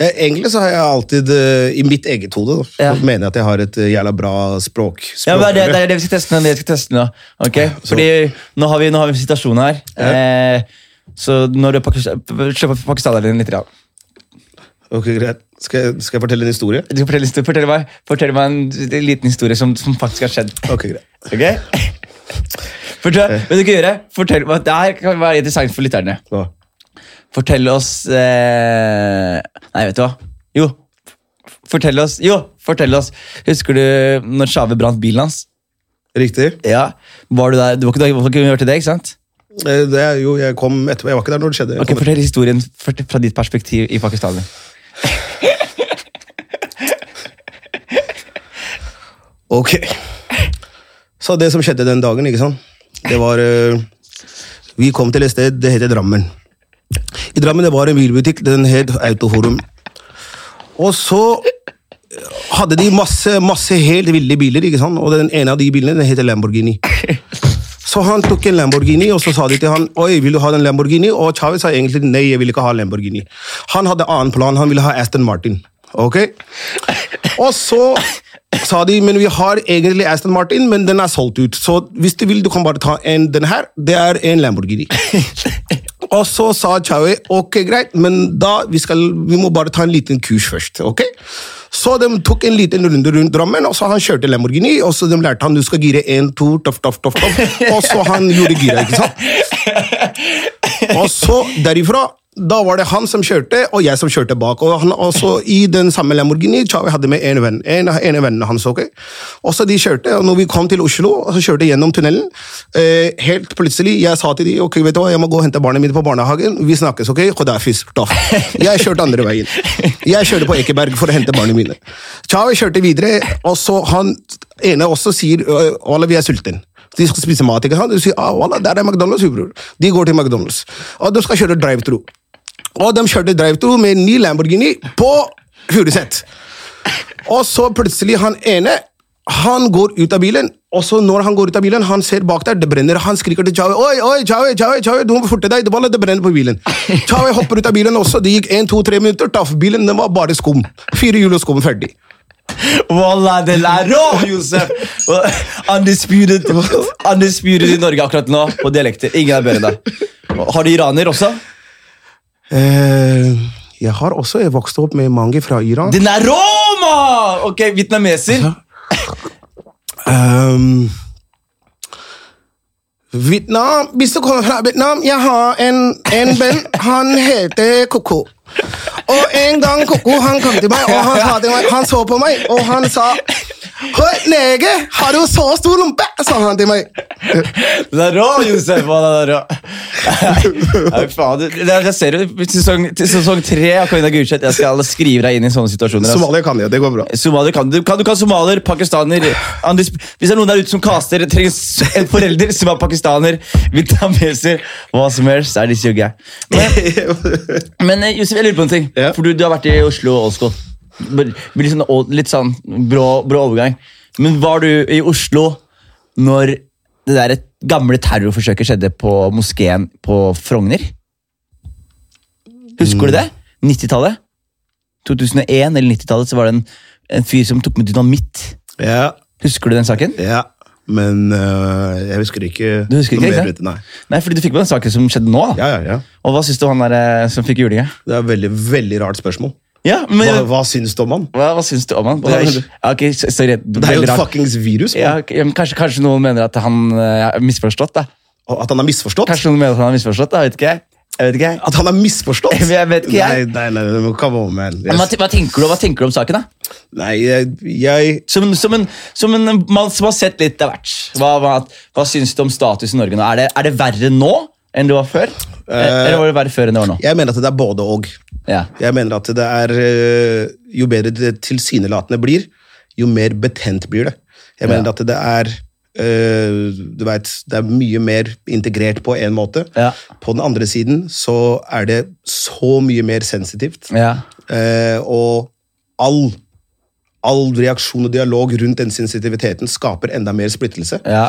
Speaker 2: Eh, Egentlig så har jeg alltid, eh, i mitt eget hode, da, så
Speaker 1: Ja.
Speaker 2: mener jeg at jeg har et eh, jævla bra språk.
Speaker 1: Ja, men det, er det, det
Speaker 2: språkrøre.
Speaker 1: er det vi skal teste nå. Det vi skal teste nå. Ok? Fordi nå har vi, nå har vi en situasjon her. Eh, så når du er pakistan- Slå på pakistaneren din litt. grann.
Speaker 2: Ok, greit. Skal jeg, skal jeg fortelle en historie?
Speaker 1: Du skal fortelle, en histor- fortell, meg, fortell meg en liten historie som, som faktisk har skjedd.
Speaker 2: Ok, greit.
Speaker 1: Ok? Fortell, vet du hva jeg gjør? Fortell meg, Det her kan være interessant for lytterne.
Speaker 2: Hva?
Speaker 1: Fortell oss eh, Nei, vet du hva? Jo, f- fortell oss Jo, fortell oss. Husker du når Shave brant bilen hans?
Speaker 2: Riktig.
Speaker 1: Ja, Var du der? Du var ikke, du var ikke med til det, ikke sant?
Speaker 2: Eh, Det, er jo, jeg kom etterpå. Jeg var ikke der når det skjedde. Jeg
Speaker 1: Ok,
Speaker 2: kom
Speaker 1: Fortell historien fort- fra ditt perspektiv i Pakistan.
Speaker 2: Ok. Så det som skjedde den dagen, ikke sant? Det var eh, Vi kom til et sted, det heter Drammen. I Drammen det var en bilbutikk, den het Autoforum. Og så eh, hadde de masse, masse helt ville biler, ikke sant? og den ene av de bilene den heter Lamborghini. Så han tok en Lamborghini, og så sa de til han, oi, vil du ha den Lamborghini? Og Chavez sa egentlig, nei, jeg vil ikke ha Lamborghini. Han hadde annen plan, han ville ha Aston Martin. Ok? Og så sa de, men vi har egentlig Aston Martin, men den er solgt ut. Så hvis du vil, du kan bare ta en, den her. Det er en Lamborghini. Og så sa Chaui ok, greit, men da vi, skal, vi må bare ta en liten kurs først. ok? Så de tok en liten runde rundt Drammen, og så han kjørte Lamborghini. Og så de lærte han du skal gire én, to, toff, toff, toff, toff. Og så han gjorde gira, ikke sant? Og så derifra da var det han som kjørte, og jeg som kjørte bak. Og han også i den samme Lamborghini, Chaui hadde med en venn, en, en av vennene hans. ok? Og så de kjørte, og når vi kom til Oslo, og så kjørte gjennom tunnelen, eh, helt plutselig, jeg sa til de, ok, vet du hva, jeg må gå og hente barnet mitt på barnehagen, vi snakkes, ok? Khodafis, toff. Jeg kjørte andre veien. Jeg kjørte på Ekeberg for å hente barnet mine. Chaui kjørte videre, og så han ene også sier, «Øh, Walla, vi er sulten. De skal spise mat, ikke sant? Du sier, ah, Walla, der er McDonald's, bror. De går til McDonald's. Og de skal kjøre drive-thru. Og de kjørte drive-thru med en ny Lamborghini på Furuset. Og så plutselig han ene han går ut av bilen, og så når han går ut av bilen, han ser bak der, det brenner, han skriker til Chaui Oi, oi, Chaui, Chaui, Chaui, du må forte deg, det, var- det brenner på bilen. Chaui hopper ut av bilen også, det gikk en, to, tre minutter, taff, bilen den var bare skum. Fire hjul og skum, ferdig.
Speaker 1: Wallah, det er rå, Josef! Undisputed, undisputed i Norge akkurat nå på dialekter. Ingen er bedre enn deg. Har du iraner også?
Speaker 2: Eh, jeg har også jeg vokste opp med mange fra Iran.
Speaker 1: Den er rå, mann! Ok, vietnameser.
Speaker 2: Ehm, Vietnam Hvis du kommer fra Vietnam Jeg har en, en venn. Han heter Koko. Og en gang Koko han kom til meg, og han, sa til meg, han så på meg, og han sa Hei, nege, har du så stor rumpe? sa han til meg.
Speaker 1: Den er rå, Josef! Wallah, den er rå. Nei, faen, du- det er- jeg ser jo til sesong, til sesong tre av Karina Gurseth. Jeg skal skrive deg inn i sånne situasjoner. ass.
Speaker 2: Somalia kan jeg, det går bra.
Speaker 1: Somalier kan du. Kan, du kan somalier, pakistaner andis, Hvis det er noen der ute som kaster, trenger s- en forelder som er pakistaner, vietnameser, hva som helst, er de sugge. Men eh, Josef, jeg lurer på en ting.
Speaker 2: Ja.
Speaker 1: For du, du har vært i Oslo Old School. Blir Litt sånn, å- litt sånn brå, brå overgang. Men var du i Oslo når det der gamle terrorforsøket skjedde på moskeen på Frogner? Husker du det? 90-tallet? 2001 eller 90-tallet så var det en, en fyr som tok med dynamitt.
Speaker 2: Ja,
Speaker 1: Husker du den saken?
Speaker 2: ja. Men eh, jeg husker ikke
Speaker 1: Du husker ikke,
Speaker 2: noe
Speaker 1: ikke
Speaker 2: mer
Speaker 1: sant?
Speaker 2: ut, Nei.
Speaker 1: Nei, fordi du fikk med den saken som skjedde nå. da.
Speaker 2: Ja, ja, ja.
Speaker 1: Og hva syns du om han der eh, som fikk julinga?
Speaker 2: Det er et veldig, veldig rart spørsmål.
Speaker 1: Ja, men
Speaker 2: Hva,
Speaker 1: hva,
Speaker 2: hva syns du om han?
Speaker 1: hva syns du om han? Det
Speaker 2: Hva
Speaker 1: er,
Speaker 2: mener du?
Speaker 1: ja, ok, s- sorry,
Speaker 2: Det er jo
Speaker 1: veldig
Speaker 2: et
Speaker 1: rart.
Speaker 2: fuckings virus.
Speaker 1: ja,
Speaker 2: man.
Speaker 1: ok, men kanskje, kanskje noen mener at han eh, er misforstått? da
Speaker 2: Og At han er misforstått.
Speaker 1: Kanskje noen mener at han er misforstått, da, vet ikke jeg. jeg vet ikke jeg.
Speaker 2: At han er misforstått?
Speaker 1: Men jeg vet ikke, jeg.
Speaker 2: Nei, nei, nei, men come on, man.
Speaker 1: Men Hva, ten-
Speaker 2: Jeg,
Speaker 1: hva, tenker du, hva tenker du om saken, da?
Speaker 2: nei, jeg, jeg
Speaker 1: Som, som, en, som en mann som har sett litt av hvert. Hva, hva, hva syns du om status i Norge nå? Er det, er det verre nå enn det var før? Eh, Eller var det verre før enn det var nå?
Speaker 2: jeg mener at det er både og.
Speaker 1: Ja.
Speaker 2: Jeg mener at det er øh, Jo bedre det tilsynelatende blir, jo mer betent blir det. Jeg mener
Speaker 1: Ja.
Speaker 2: at det er øh, Du vet, det er mye mer integrert på én måte.
Speaker 1: Ja.
Speaker 2: På den andre siden så er det så mye mer sensitivt.
Speaker 1: ja.
Speaker 2: Eh, og all, all reaksjon og dialog rundt den sensitiviteten skaper enda mer splittelse.
Speaker 1: ja.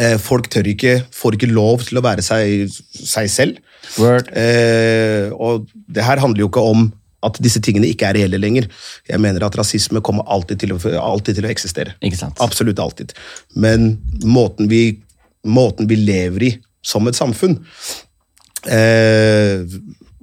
Speaker 2: Eh, folk tør ikke, får ikke lov til å være seg, seg selv.
Speaker 1: Word.
Speaker 2: Eh, og det her handler jo ikke om at disse tingene ikke er reelle lenger. Jeg mener at rasisme kommer alltid til å, alltid til å eksistere.
Speaker 1: Ikke sant.
Speaker 2: Absolutt alltid. Men måten vi, måten vi lever i som et samfunn eh,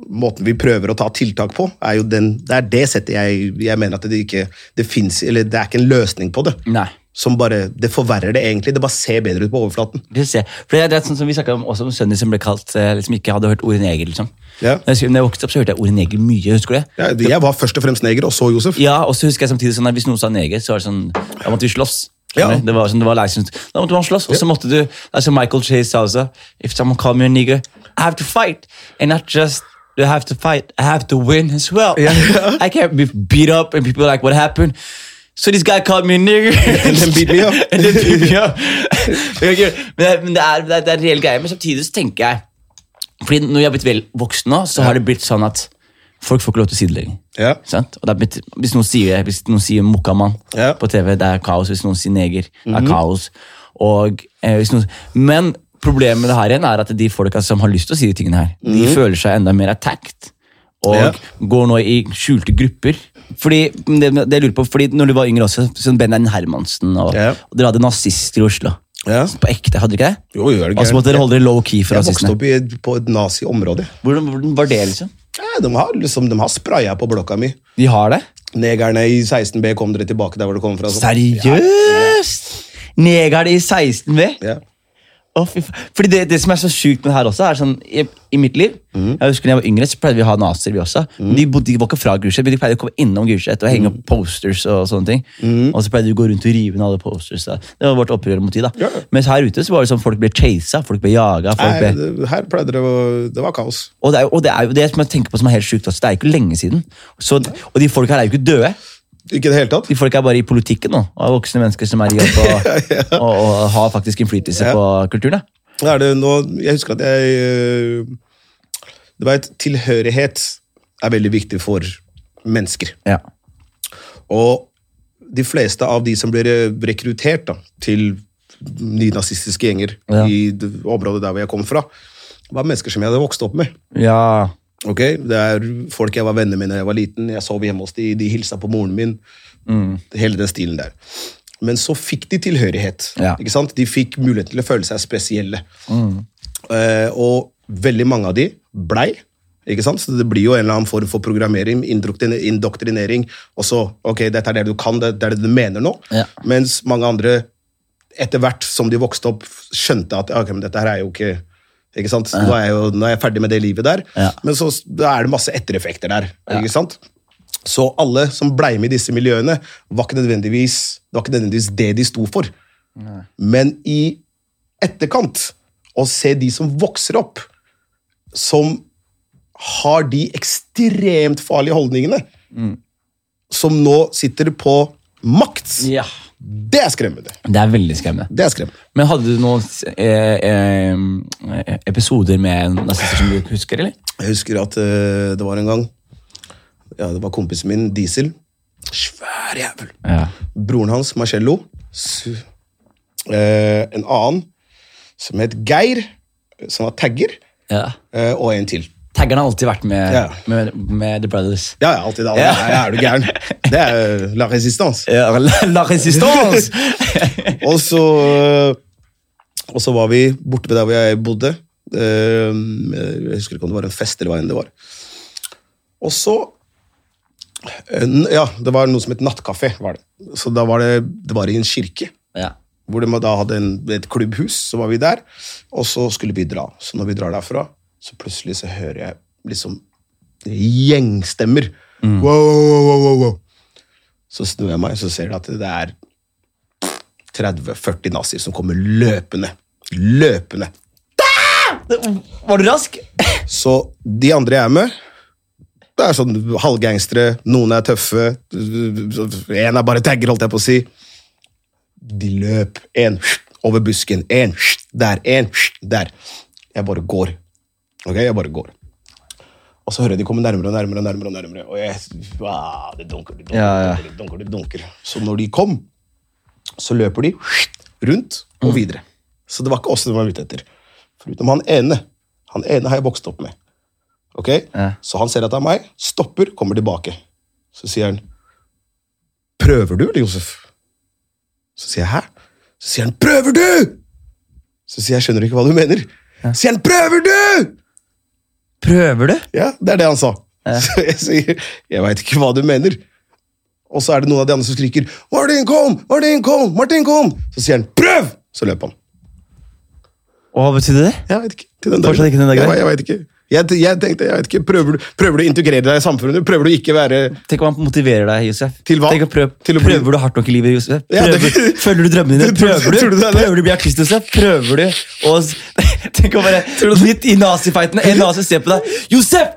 Speaker 2: Måten vi prøver å ta tiltak på, er jo den, det er det settet jeg, jeg mener at det ikke det finnes, eller det er ikke en løsning på det.
Speaker 1: Nei.
Speaker 2: Som bare, Det forverrer det egentlig. Det bare ser bedre ut på overflaten.
Speaker 1: Vi får se. For det er- det er sånn som Vi snakka om også om sønnen din som ble kalt eh, liksom ikke hadde hørt ordet neger. liksom.
Speaker 2: Ja.
Speaker 1: Når jeg skulle- når jeg vokste opp, så hørte jeg ordet neger mye. husker du det?
Speaker 2: Ja, jeg var først og fremst neger, og så Josef.
Speaker 1: Ja, og så husker jeg samtidig sånn at hvis noen sa neger, så var det sånn, da måtte vi slåss.
Speaker 2: Ja.
Speaker 1: Skjønner du? Det var sånn, det var liksom, da måtte man slåss, og så måtte du, det er som Michael Chase sa også, if someone call me a nigger, I have to fight, and not just, you have to fight, I have to win as well. I can't be beat up, and people are like, what happened? So this guy called me a nigger.
Speaker 2: And then beat me up.
Speaker 1: And then beat me up. Men det er, men det er, det er, det er en reell greie, men samtidig så tenker jeg fordi når jeg har blitt vel voksen nå, så har det blitt sånn at folk får ikke lov til å si det lenger.
Speaker 2: Ja.
Speaker 1: Ikke Sant? Og det er blitt, hvis noen sier, hvis noen sier mokkamann
Speaker 2: Ja. Mhm.
Speaker 1: på TV, det er kaos. Hvis noen sier neger, det er kaos. Og, eh, hvis noen, men problemet med det her igjen er at de folka som har lyst til å si de tingene her, de føler seg enda mer attacked. Og
Speaker 2: Mhm. Ja.
Speaker 1: går nå i skjulte grupper. Fordi, det, det jeg lurer på, fordi når du var yngre også, sånn Benjamin Hermansen og,
Speaker 2: Ja.
Speaker 1: og Dere hadde nazister i Oslo.
Speaker 2: Ja.
Speaker 1: På ekte, hadde dere ikke det?
Speaker 2: Jo, jo, er det
Speaker 1: Og så Altså, måtte
Speaker 2: gærent?
Speaker 1: dere holde dere low key for
Speaker 2: Jeg vokste
Speaker 1: rasistene.
Speaker 2: opp i, på et naziområde.
Speaker 1: Hvordan, hvordan var det, liksom?
Speaker 2: Ja, de har, liksom, de har spraya på blokka mi.
Speaker 1: De har det?
Speaker 2: Negerne i 16B kom dere tilbake der hvor dere kom fra. sånn.
Speaker 1: Seriøst! Negerne i 16B?
Speaker 2: Ja.
Speaker 1: Å, fy fa- Fordi det, det som er så sjukt med det her også, er sånn I, i mitt liv
Speaker 2: Mhm.
Speaker 1: Jeg husker da jeg var yngre, så pleide vi å ha nazier, vi også. Men de, bodde, de var ikke fra Gulset, men de pleide å komme innom Gulset og
Speaker 2: Mhm.
Speaker 1: henge opp posters. Og sånne ting Og så pleide de å gå rundt og rive ned alle posters. Da. Det var vårt opprør mot de da
Speaker 2: Ja.
Speaker 1: Mens her ute så var det sånn folk ble chasa, folk ble jaga. Folk
Speaker 2: Her,
Speaker 1: ble,
Speaker 2: her pleide det å Det var kaos.
Speaker 1: og, det er, jo- og det er jo det som jeg tenker på som er helt sjukt også, det er jo ikke lenge siden. Så, og de folka her er jo ikke døde.
Speaker 2: Ikke i det hele tatt.
Speaker 1: De folk er bare i politikken nå, og er voksne mennesker som er i jobb og, og, og har faktisk innflytelse
Speaker 2: Ja.
Speaker 1: på kulturen. da.
Speaker 2: Da er det nå, jeg husker at jeg øh, Du vet, tilhørighet er veldig viktig for mennesker.
Speaker 1: Ja.
Speaker 2: Og de fleste av de som blir eh, rekruttert da, til nynazistiske gjenger
Speaker 1: Ja.
Speaker 2: i det området der hvor jeg kom fra, var mennesker som jeg hadde vokst opp med.
Speaker 1: ja.
Speaker 2: Ok, Det er folk jeg var venner med da jeg var liten. Jeg sov hjemme hos de, de hilsa på moren min.
Speaker 1: Mm.
Speaker 2: Hele den stilen der. Men så fikk de tilhørighet.
Speaker 1: Ja. Mm.
Speaker 2: ikke sant? De fikk mulighet til å føle seg spesielle. Eh, og veldig mange av de blei. ikke sant? Så det blir jo en eller annen form for programmering, indoktrine- indoktrinering. Og så ok, dette er det du kan, det det er det du mener nå.
Speaker 1: Ja.
Speaker 2: Mens mange andre, etter hvert som de vokste opp, skjønte at ok, men dette her er jo ikke ikke sant? Nå, er jeg jo, nå er jeg ferdig med det livet der,
Speaker 1: Ja.
Speaker 2: men så s- da er det masse ettereffekter der. ikke sant? Så alle som blei med i disse miljøene, var ikke nødvendigvis, det var ikke nødvendigvis det de sto for. Men i etterkant, å se de som vokser opp, som har de ekstremt farlige holdningene, som nå sitter på makt, det er skremmende.
Speaker 1: Det er veldig skremmende.
Speaker 2: Det er skremmende.
Speaker 1: Men hadde du noen eh, eh, episoder med nazister som du husker, eller?
Speaker 2: Jeg husker at eh, det var en gang ja, Det var kompisen min, Diesel. Svær jævel.
Speaker 1: Ja.
Speaker 2: Broren hans, Marcello. Su eh, en annen som het Geir, som var tagger.
Speaker 1: ja.
Speaker 2: eh, og en til.
Speaker 1: Taggerne har alltid vært med,
Speaker 2: Ja.
Speaker 1: med, med The Brothers.
Speaker 2: Ja, ja, alltid det. alle.
Speaker 1: Ja.
Speaker 2: Ja. ja, er du gæren? Det er eh, la resistance.
Speaker 1: Ja, La, la resistance!
Speaker 2: Og så eh, Og så var vi borte ved der hvor jeg bodde. Eh, Jeg husker ikke om det var en fest eller hva enn det var. Og så eh, n- Ja, det var noe som het nattkafé. Var det. Så da var det, det var i en kirke.
Speaker 1: ja.
Speaker 2: Hvor de da hadde en, et klubbhus, så var vi der. Og så skulle vi dra. Så når vi drar derfra, så plutselig så hører jeg liksom gjengstemmer. Wow, wow, wow, wow, wow. Så snur jeg meg, så ser jeg at det er 30-40 nazier som kommer løpende. Løpende.
Speaker 1: Var du rask?
Speaker 2: Så de andre jeg er med, det er sånn halvgangstere, noen er tøffe, én er bare tagger, holdt jeg på å si. De løp én over busken, én der, én der. Jeg bare går. Ok, jeg bare går. Og så hører jeg de komme nærmere og nærmere, og nærmere, og nærmere. Og jeg, ah, det dunker, det dunker,
Speaker 1: Ja, ja.
Speaker 2: det dunker, det dunker. Så når de kom, så løper de rundt og
Speaker 1: Mm.
Speaker 2: videre. Så det var ikke oss de var ute etter. Foruten han ene. Han ene har jeg vokst opp med. Ok?
Speaker 1: Ja.
Speaker 2: Så han ser at det er meg, stopper, kommer tilbake. Så sier han Prøver du, eller, Josef? Så sier jeg hæ? Så sier han prøver du! Så sier jeg skjønner ikke hva du mener. Så sier han prøver du!
Speaker 1: Prøver du?
Speaker 2: Ja, det er det han sa. Så jeg sier, jeg veit ikke hva du mener. Og så er det noen av de andre som skriker 'Martin, kom! Martin, kom! Martin, kom!' Så sier han 'prøv!' Så løper han.
Speaker 1: Og Hva betydde det?
Speaker 2: Jeg vet ikke. Til den
Speaker 1: Fortsatt ikke den dagen?
Speaker 2: Jeg, jeg vet ikke. Jeg, jeg tenkte, jeg vet ikke, prøver du, prøver du å integrere deg i samfunnet? Prøver du ikke være
Speaker 1: Tenk om han motiverer deg, Josef.
Speaker 2: Til hva?
Speaker 1: Tenk å prøv,
Speaker 2: Til å bli-
Speaker 1: Prøver du hardt nok i livet, Josef?
Speaker 2: Ja,
Speaker 1: Prøver,
Speaker 2: det-
Speaker 1: Føler du drømmene dine?
Speaker 2: Tror-
Speaker 1: Prøver du?
Speaker 2: tror du det er det?
Speaker 1: Prøver du å bli artist, Josef? Prøver du å s- Tenk å bare Midt i nazifighten, en nazi ser på deg. Josef!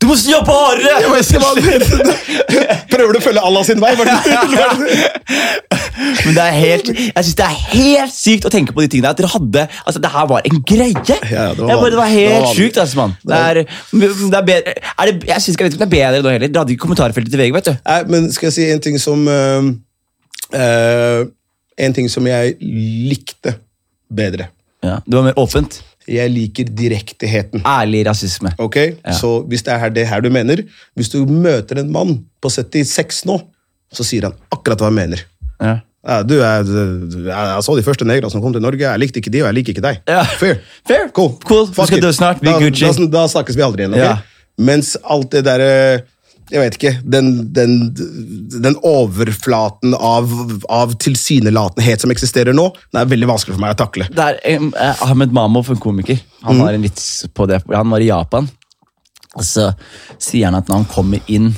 Speaker 1: Du må jobbe hardere!
Speaker 2: Prøver du å følge Allah sin vei? bare-
Speaker 1: Men det er helt, jeg synes det er helt sykt å tenke på de tingene. At dere hadde, altså Det her var en greie!
Speaker 2: ja, det var
Speaker 1: jeg bare, det var
Speaker 2: vanlig. Det
Speaker 1: helt
Speaker 2: var vanlig.
Speaker 1: sjukt, altså, mann. Det er, det er bedre, er det, jeg, synes, jeg vet ikke om det er bedre nå heller. Dere hadde ikke kommentarfeltet til VG, vet du.
Speaker 2: Nei, men skal jeg si en ting som eh, eh, En ting som jeg likte bedre.
Speaker 1: Ja, det var mer åpent.
Speaker 2: Jeg liker direkteheten.
Speaker 1: Ærlig rasisme.
Speaker 2: Ok, Så hvis det er her- det her du mener Hvis du møter en mann på 76 nå, så sier han akkurat hva han mener.
Speaker 1: Ja.
Speaker 2: Ja, du, jeg, jeg, jeg så de første negra som kom til Norge. Jeg likte ikke de, og jeg liker ikke deg.
Speaker 1: Ja.
Speaker 2: Fair.
Speaker 1: Fair.
Speaker 2: Cool.
Speaker 1: Cool. Du
Speaker 2: Fuck
Speaker 1: skal
Speaker 2: it.
Speaker 1: dø snart. Vi
Speaker 2: Da,
Speaker 1: Gucci.
Speaker 2: da, da snakkes vi aldri igjen. ok?
Speaker 1: Ja.
Speaker 2: Mens alt det derre jeg vet ikke, Den, den, den overflaten av, av tilsynelatenhet som eksisterer nå, den er veldig vanskelig for meg å takle.
Speaker 1: Det er em, eh, Ahmed Mamov, en komiker.
Speaker 2: Mm.
Speaker 1: Han har en vits på det. Han var i Japan. Og så sier han at når han kommer inn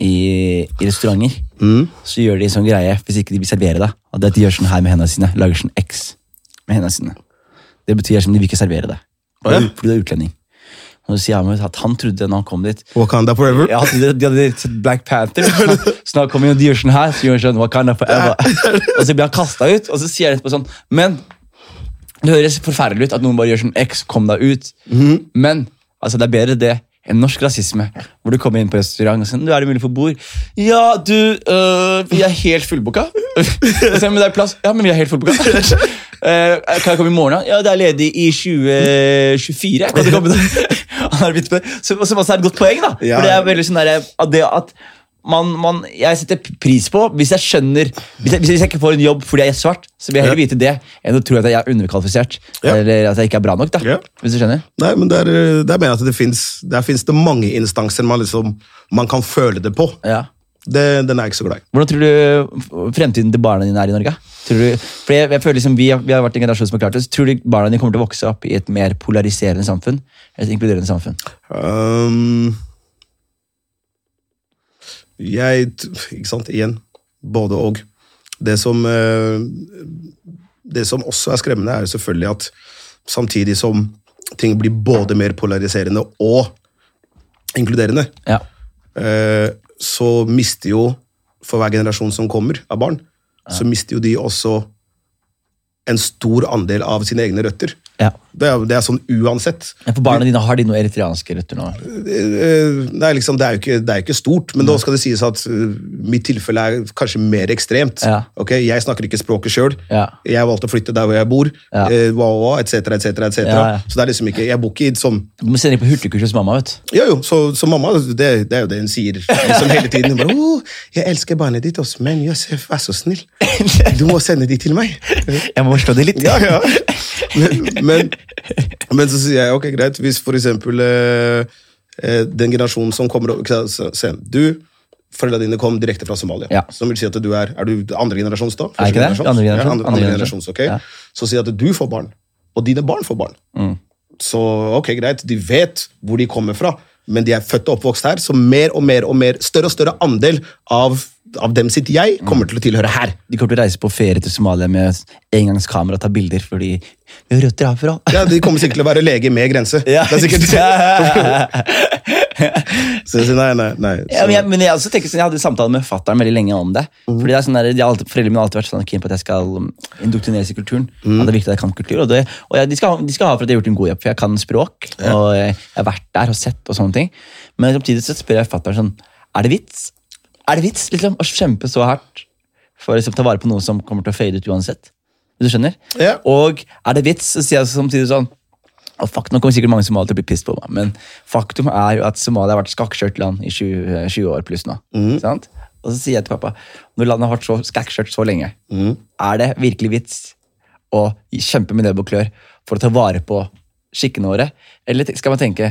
Speaker 1: i, i restauranter,
Speaker 2: Mm.
Speaker 1: så gjør de en sånn greie, hvis ikke de vil servere deg, at de gjør sånn her med hendene sine. Lager sånn X med hendene sine. Det betyr som de vil ikke servere deg. Bare
Speaker 2: Oi.
Speaker 1: fordi du er utlending. Og så sier Ahmed at han trodde når han kom dit
Speaker 2: Wakanda forever.
Speaker 1: ja, de, de hadde sett Black Panther. Så- Så når han kommer inn og de gjør sånn her, så gjør han sånn Wakanda forever. Og så blir han kasta ut, og så sier han etterpå sånn Men det høres forferdelig ut at noen bare gjør sånn X, kom deg ut. Men altså, det er bedre det enn norsk rasisme, hvor du kommer inn på restaurant og sånn, du er det mulig for bord? Ja, du, øh, vi er helt fullbooka. Og så, men det er plass. Ja, men vi er helt fullbooka. Eh, kan jeg komme i morgen? da? Ja, det er ledig i 2024. Kan du komme da? Han har begynt med, som som også er et godt poeng, da.
Speaker 2: Ja.
Speaker 1: For det er veldig sånn der, at det at man, man, jeg setter pris på Hvis jeg skjønner hvis jeg, hvis jeg ikke får en jobb fordi jeg er svart, så vil jeg heller
Speaker 2: Ja.
Speaker 1: vite det enn å tro at jeg er underkvalifisert.
Speaker 2: Ja.
Speaker 1: Eller at jeg ikke er bra nok. da
Speaker 2: Ja.
Speaker 1: Hvis du skjønner
Speaker 2: Nei, men der, eh, der mener jeg at det fins Der finnes det mange instanser man, liksom, man kan føle det på.
Speaker 1: ja.
Speaker 2: Det, den er jeg ikke så glad i.
Speaker 1: Hvordan tror du f- fremtiden til barna dine er i Norge? Tror du, for jeg, jeg føler liksom vi har, vi har vært en generasjon som har klart det. så Tror du barna dine kommer til å vokse opp i et mer polariserende samfunn? Eller et inkluderende samfunn?
Speaker 2: Ehm, jeg t- Ikke sant, igjen. Både og. Det som, eh, det som også er skremmende, er jo selvfølgelig at samtidig som ting blir både mer polariserende og inkluderende,
Speaker 1: Ja.
Speaker 2: eh, så mister jo For hver generasjon som kommer av barn, så mister jo de også en stor andel av sine egne røtter.
Speaker 1: ja.
Speaker 2: Det er, det er sånn uansett.
Speaker 1: Ja, For barna dine, har de noen eritreanske røtter nå?
Speaker 2: Eh, det er, liksom, det er jo ikke, det er jo ikke stort, men da skal det sies at eh, mitt tilfelle er kanskje mer ekstremt.
Speaker 1: Ja.
Speaker 2: Ok, Jeg snakker ikke språket sjøl.
Speaker 1: Ja.
Speaker 2: Jeg valgte å flytte der hvor jeg bor,
Speaker 1: Ja.
Speaker 2: eh, wa, wa, wa, et cetera, et cetera, et cetera.
Speaker 1: Ja, ja.
Speaker 2: Så det er liksom ikke, jeg bor ikke i et sånn
Speaker 1: Du må sende dem på hurtigkurs hos mamma. vet du
Speaker 2: Jo, jo, så, så mamma, det, det er jo det hun sier liksom hele tiden. Hun bare, oh, 'Jeg elsker barnet ditt også, men Josef, vær så snill, du må sende de til meg.'
Speaker 1: Jeg må forstå det litt.
Speaker 2: Ja, ja. Men, men, men så sier jeg ok, greit, hvis for eksempel eh, eh, den generasjonen som kommer opp ikke sant, så- se, Du, foreldrene dine kom direkte fra Somalia.
Speaker 1: Ja.
Speaker 2: Som vil si at du er Er du andre generasjons da?
Speaker 1: Er jeg ikke det?
Speaker 2: Første
Speaker 1: Andre
Speaker 2: Ja,
Speaker 1: generasjon.
Speaker 2: andre,
Speaker 1: Andre
Speaker 2: andre
Speaker 1: generasjon.
Speaker 2: generasjons, ok.
Speaker 1: Ja. Mm.
Speaker 2: Så sier jeg at du får barn, og dine barn får barn. Så ok, greit, de vet hvor de kommer fra, men de er født og oppvokst her, så mer og mer og mer, større og større andel av, av dem sitt jeg kommer til å tilhøre her.
Speaker 1: De kommer til å reise på ferie til Somalia med engangskamera og ta bilder fordi vi har røtter herfra.
Speaker 2: Ja, De kommer sikkert til å være lege med grense. Det er sikkert Så jeg sier nei, nei, nei.
Speaker 1: Ja, men jeg,
Speaker 2: Så, Mm.
Speaker 1: men jeg, også tenker sånn, jeg hadde samtale med fatteren veldig lenge om det. Fordi det er sånn der, de har alltid, Foreldrene mine har alltid vært sånn keen på at jeg skal um, indoktrineres i kulturen.
Speaker 2: Mm.
Speaker 1: At det er viktig at jeg kan kultur. Og, det, og jeg, de, skal, ha- de skal ha for at jeg har gjort en god jobb, for jeg kan språk. Og jeg, jeg har vært der og sett og sånne ting. Men samtidig så spør jeg fatteren sånn Er det vits? Er det vits liksom, å kjempe så hardt for å liksom, ta vare på noe som kommer til å fade ut uansett? Du skjønner?
Speaker 2: Ja.
Speaker 1: Og er det vits, så sier jeg samtidig sånn og fuck, Nå kommer sikkert mange somaliere til å bli pissed på meg, men faktum er jo at Somalia har vært et skakkskjørt land i 20, eh, 20 år pluss nå. Sant? Og så sier jeg til pappa når landet har vært så skakkskjørt så lenge, er det virkelig vits å kjempe med nebb og klør for å ta vare på skikkene våre? Eller skal man tenke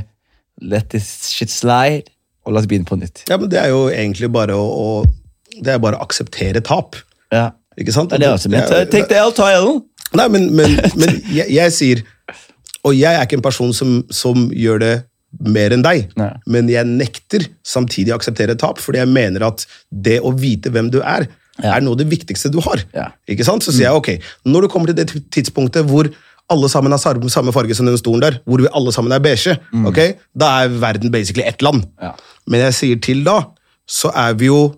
Speaker 1: let this shit slide, og la oss begynne på nytt?
Speaker 2: ja, men det er jo egentlig bare å, å Det er bare å akseptere tap.
Speaker 1: Ja.
Speaker 2: Ikke sant?
Speaker 1: Det er det jeg også eh, mente.
Speaker 2: er-
Speaker 1: Take the L, ta L-en.
Speaker 2: Nei, men, men, men jeg, jeg sier Og jeg er ikke en person som, som gjør det mer enn deg,
Speaker 1: Nei.
Speaker 2: men jeg nekter samtidig å akseptere tap, fordi jeg mener at det å vite hvem du er,
Speaker 1: Ja.
Speaker 2: er noe av det viktigste du har.
Speaker 1: Ja. Mm.
Speaker 2: Ikke sant? Så sier jeg ok, når du kommer til det tidspunktet hvor alle sammen har sar- samme farge som den stolen der, hvor vi alle sammen er beige,
Speaker 1: Mm.
Speaker 2: ok? da er verden basically ett land.
Speaker 1: Ja.
Speaker 2: Men jeg sier til da, så er vi jo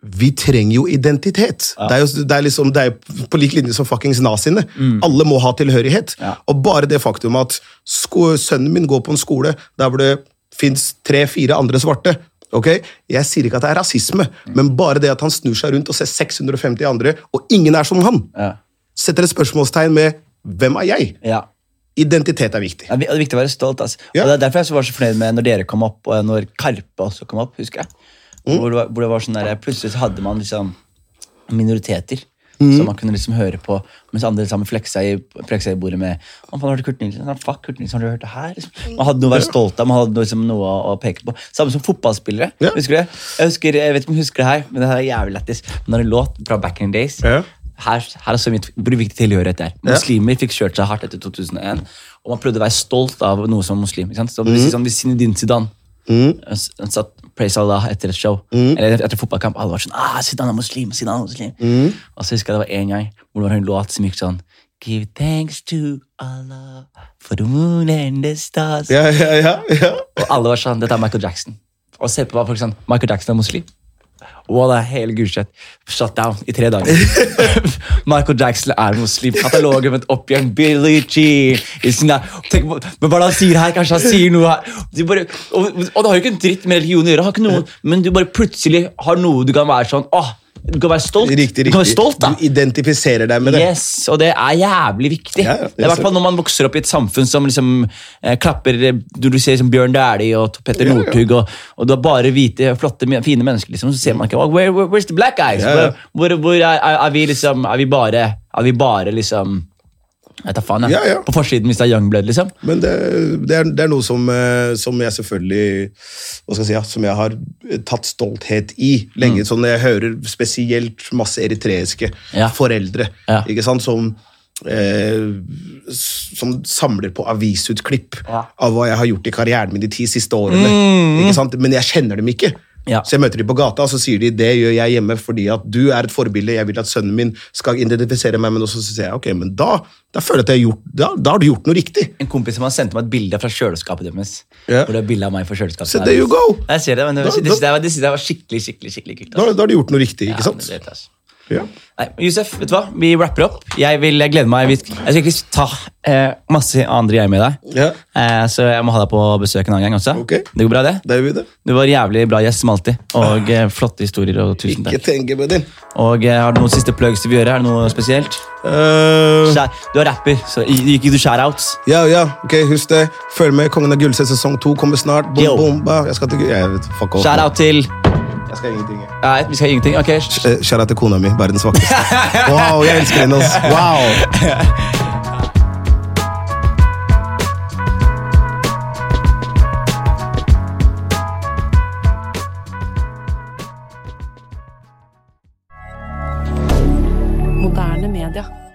Speaker 2: vi trenger jo identitet. Det er jo det er liksom, det er på lik linje som fuckings naziene.
Speaker 1: Mm.
Speaker 2: Alle må ha tilhørighet. Og bare det faktum at sko sønnen min går på en skole der hvor det fins tre-fire andre svarte ok? Jeg sier ikke at det er rasisme,
Speaker 1: Mm.
Speaker 2: men bare det at han snur seg rundt og ser 650 andre, og ingen er som han,
Speaker 1: Ja.
Speaker 2: setter et spørsmålstegn med 'Hvem er jeg?'
Speaker 1: Ja.
Speaker 2: Identitet er viktig.
Speaker 1: Ja, vi- og Det er viktig å være stolt. Altså.
Speaker 2: Ja.
Speaker 1: Og Det er derfor jeg så var så fornøyd med når dere kom opp, og når Karpe også kom opp. husker jeg.
Speaker 2: Mm.
Speaker 1: Hvor, det var, hvor det var sånn der, Plutselig så hadde man liksom minoriteter
Speaker 2: Mm.
Speaker 1: som man kunne liksom høre på, mens andre sammen fleksa i, fleksa i bordet med «Å, faen, har du Kurt Nilsen? Ja, Fuck, Kurt Nilsen, har du hørt det her? Liksom. Man hadde noe å være stolt av, man hadde noe, liksom, noe å, å peke på. Samme som fotballspillere.
Speaker 2: Ja.
Speaker 1: Husker du? det? Jeg husker, jeg vet ikke om du husker det her, men det her er jævlig lættis. Men det er en låt fra Back in the Days
Speaker 2: Ja.
Speaker 1: her, her er så mye hvor viktig tilhørighet er. Muslimer fikk kjørt seg hardt etter 2001, og man prøvde å være stolt av noe som muslim. Ikke sant? Så hvis, sånn, hvis Zinedine Zidane eh, s- han satt Praise Allah etter et show, eller etter etter fotballkamp, alle var sånn ah, Zidane er muslim, Zidane er muslim. Og så husker jeg det var en gang hvor det var en låt som gikk sånn Give thanks to Allah for the moon and the stars.
Speaker 2: Ja, ja, ja, ja.
Speaker 1: Og alle var sånn, dette er Michael Jackson. Og se på hva folk sånn, Michael Jackson er muslim. Wallah, hele Gulset shut down i tre dager. Michael Jackson er muslim. Katalogen vendt opp igjen. Billie Jean. It's not- Tenk på, men hva er det han sier her? Kanskje han sier noe her? Du bare, og, og det har jo ikke en dritt med religion å gjøre, har ikke noe, men du bare plutselig har noe du kan være sånn åh, Du kan være stolt.
Speaker 2: Riktig,
Speaker 1: Du kan være
Speaker 2: riktig.
Speaker 1: stolt da.
Speaker 2: Du identifiserer deg med det.
Speaker 1: Yes, og det er jævlig viktig.
Speaker 2: Ja, ja, det
Speaker 1: det er i
Speaker 2: ser
Speaker 1: hvert fall når man vokser opp i et samfunn som liksom eh, klapper eh, Du du ser liksom Bjørn Dæhlie og Petter
Speaker 2: Ja, ja.
Speaker 1: Northug, og, og du har bare hvite, flotte, men- fine mennesker, liksom, så ser man ikke where, where, Where's the black guys?
Speaker 2: Ja, ja.
Speaker 1: Hvor, hvor, hvor er, er, er vi liksom Er vi bare, er vi bare liksom jeg tar faen, jeg.
Speaker 2: Ja, ja.
Speaker 1: På forsiden hvis det er Youngblood, liksom.
Speaker 2: Men det, det, er, det er noe som, eh, som jeg selvfølgelig hva skal jeg si, ja, som jeg har tatt stolthet i lenge.
Speaker 1: Mm.
Speaker 2: Sånn når jeg hører spesielt masse eritreiske
Speaker 1: Ja.
Speaker 2: foreldre
Speaker 1: Ja.
Speaker 2: ikke sant, som, eh, s- som samler på avisutklipp
Speaker 1: Ja. Mm.
Speaker 2: av hva jeg har gjort i karrieren min de ti siste årene. Ikke sant? Men jeg kjenner dem ikke.
Speaker 1: Ja.
Speaker 2: Så jeg møter dem på gata, og så sier de det gjør jeg hjemme fordi at du er et forbilde. Jeg vil at sønnen min skal identifisere meg med noe. Så sier jeg ok, men da, da føler jeg at jeg har gjort, da, da har du gjort noe riktig.
Speaker 1: En kompis som har sendt meg et bilde fra kjøleskapet deres.
Speaker 2: Ja.
Speaker 1: Hvor det er bilde av meg fra kjøleskapet.
Speaker 2: So there you go.
Speaker 1: Jeg ser det, men det,
Speaker 2: Da-
Speaker 1: det,
Speaker 2: da-
Speaker 1: synes jeg var- det synes jeg var skikkelig, skikkelig, skikkelig kult.
Speaker 2: Da, da har du gjort noe riktig, ikke
Speaker 1: Ja,
Speaker 2: sant?
Speaker 1: det er det, altså.
Speaker 2: Ja.
Speaker 1: Nei, Josef, vet du hva? Vi rapper opp. Jeg vil jeg gleder meg. Vi- Jeg skal ikke ta eh, masse andre jeg med deg.
Speaker 2: Ja.
Speaker 1: Eh, så jeg må ha deg på besøk en annen gang også.
Speaker 2: Ok.
Speaker 1: Det går bra, det?
Speaker 2: Det er vi det.
Speaker 1: Du var jævlig bra gjest som alltid. Og eh, flotte historier. og tusen takk.
Speaker 2: Ikke tenke på det.
Speaker 1: Og eh, Har du noen siste plugs du vil gjøre? Er det noe spesielt?
Speaker 2: Eh,
Speaker 1: Skjær- Du er rapper, så gir ikke du shoutouts?
Speaker 2: ja, ja, ok, husk det. Følg med. Kongen av Gullset sesong to kommer snart.
Speaker 1: Yo.
Speaker 2: Bom, bomba. Jeg skal til Gu- Jeg vet, fuck off.
Speaker 1: Shoutout til
Speaker 2: Jeg skal ingenting. jeg.
Speaker 1: Nei, vi skal ingenting. Ok.
Speaker 2: Eh, Shout out til kona mi. Verdens vakreste. Wow, jeg elsker henne, ass. Wow.
Speaker 5: Moderne media.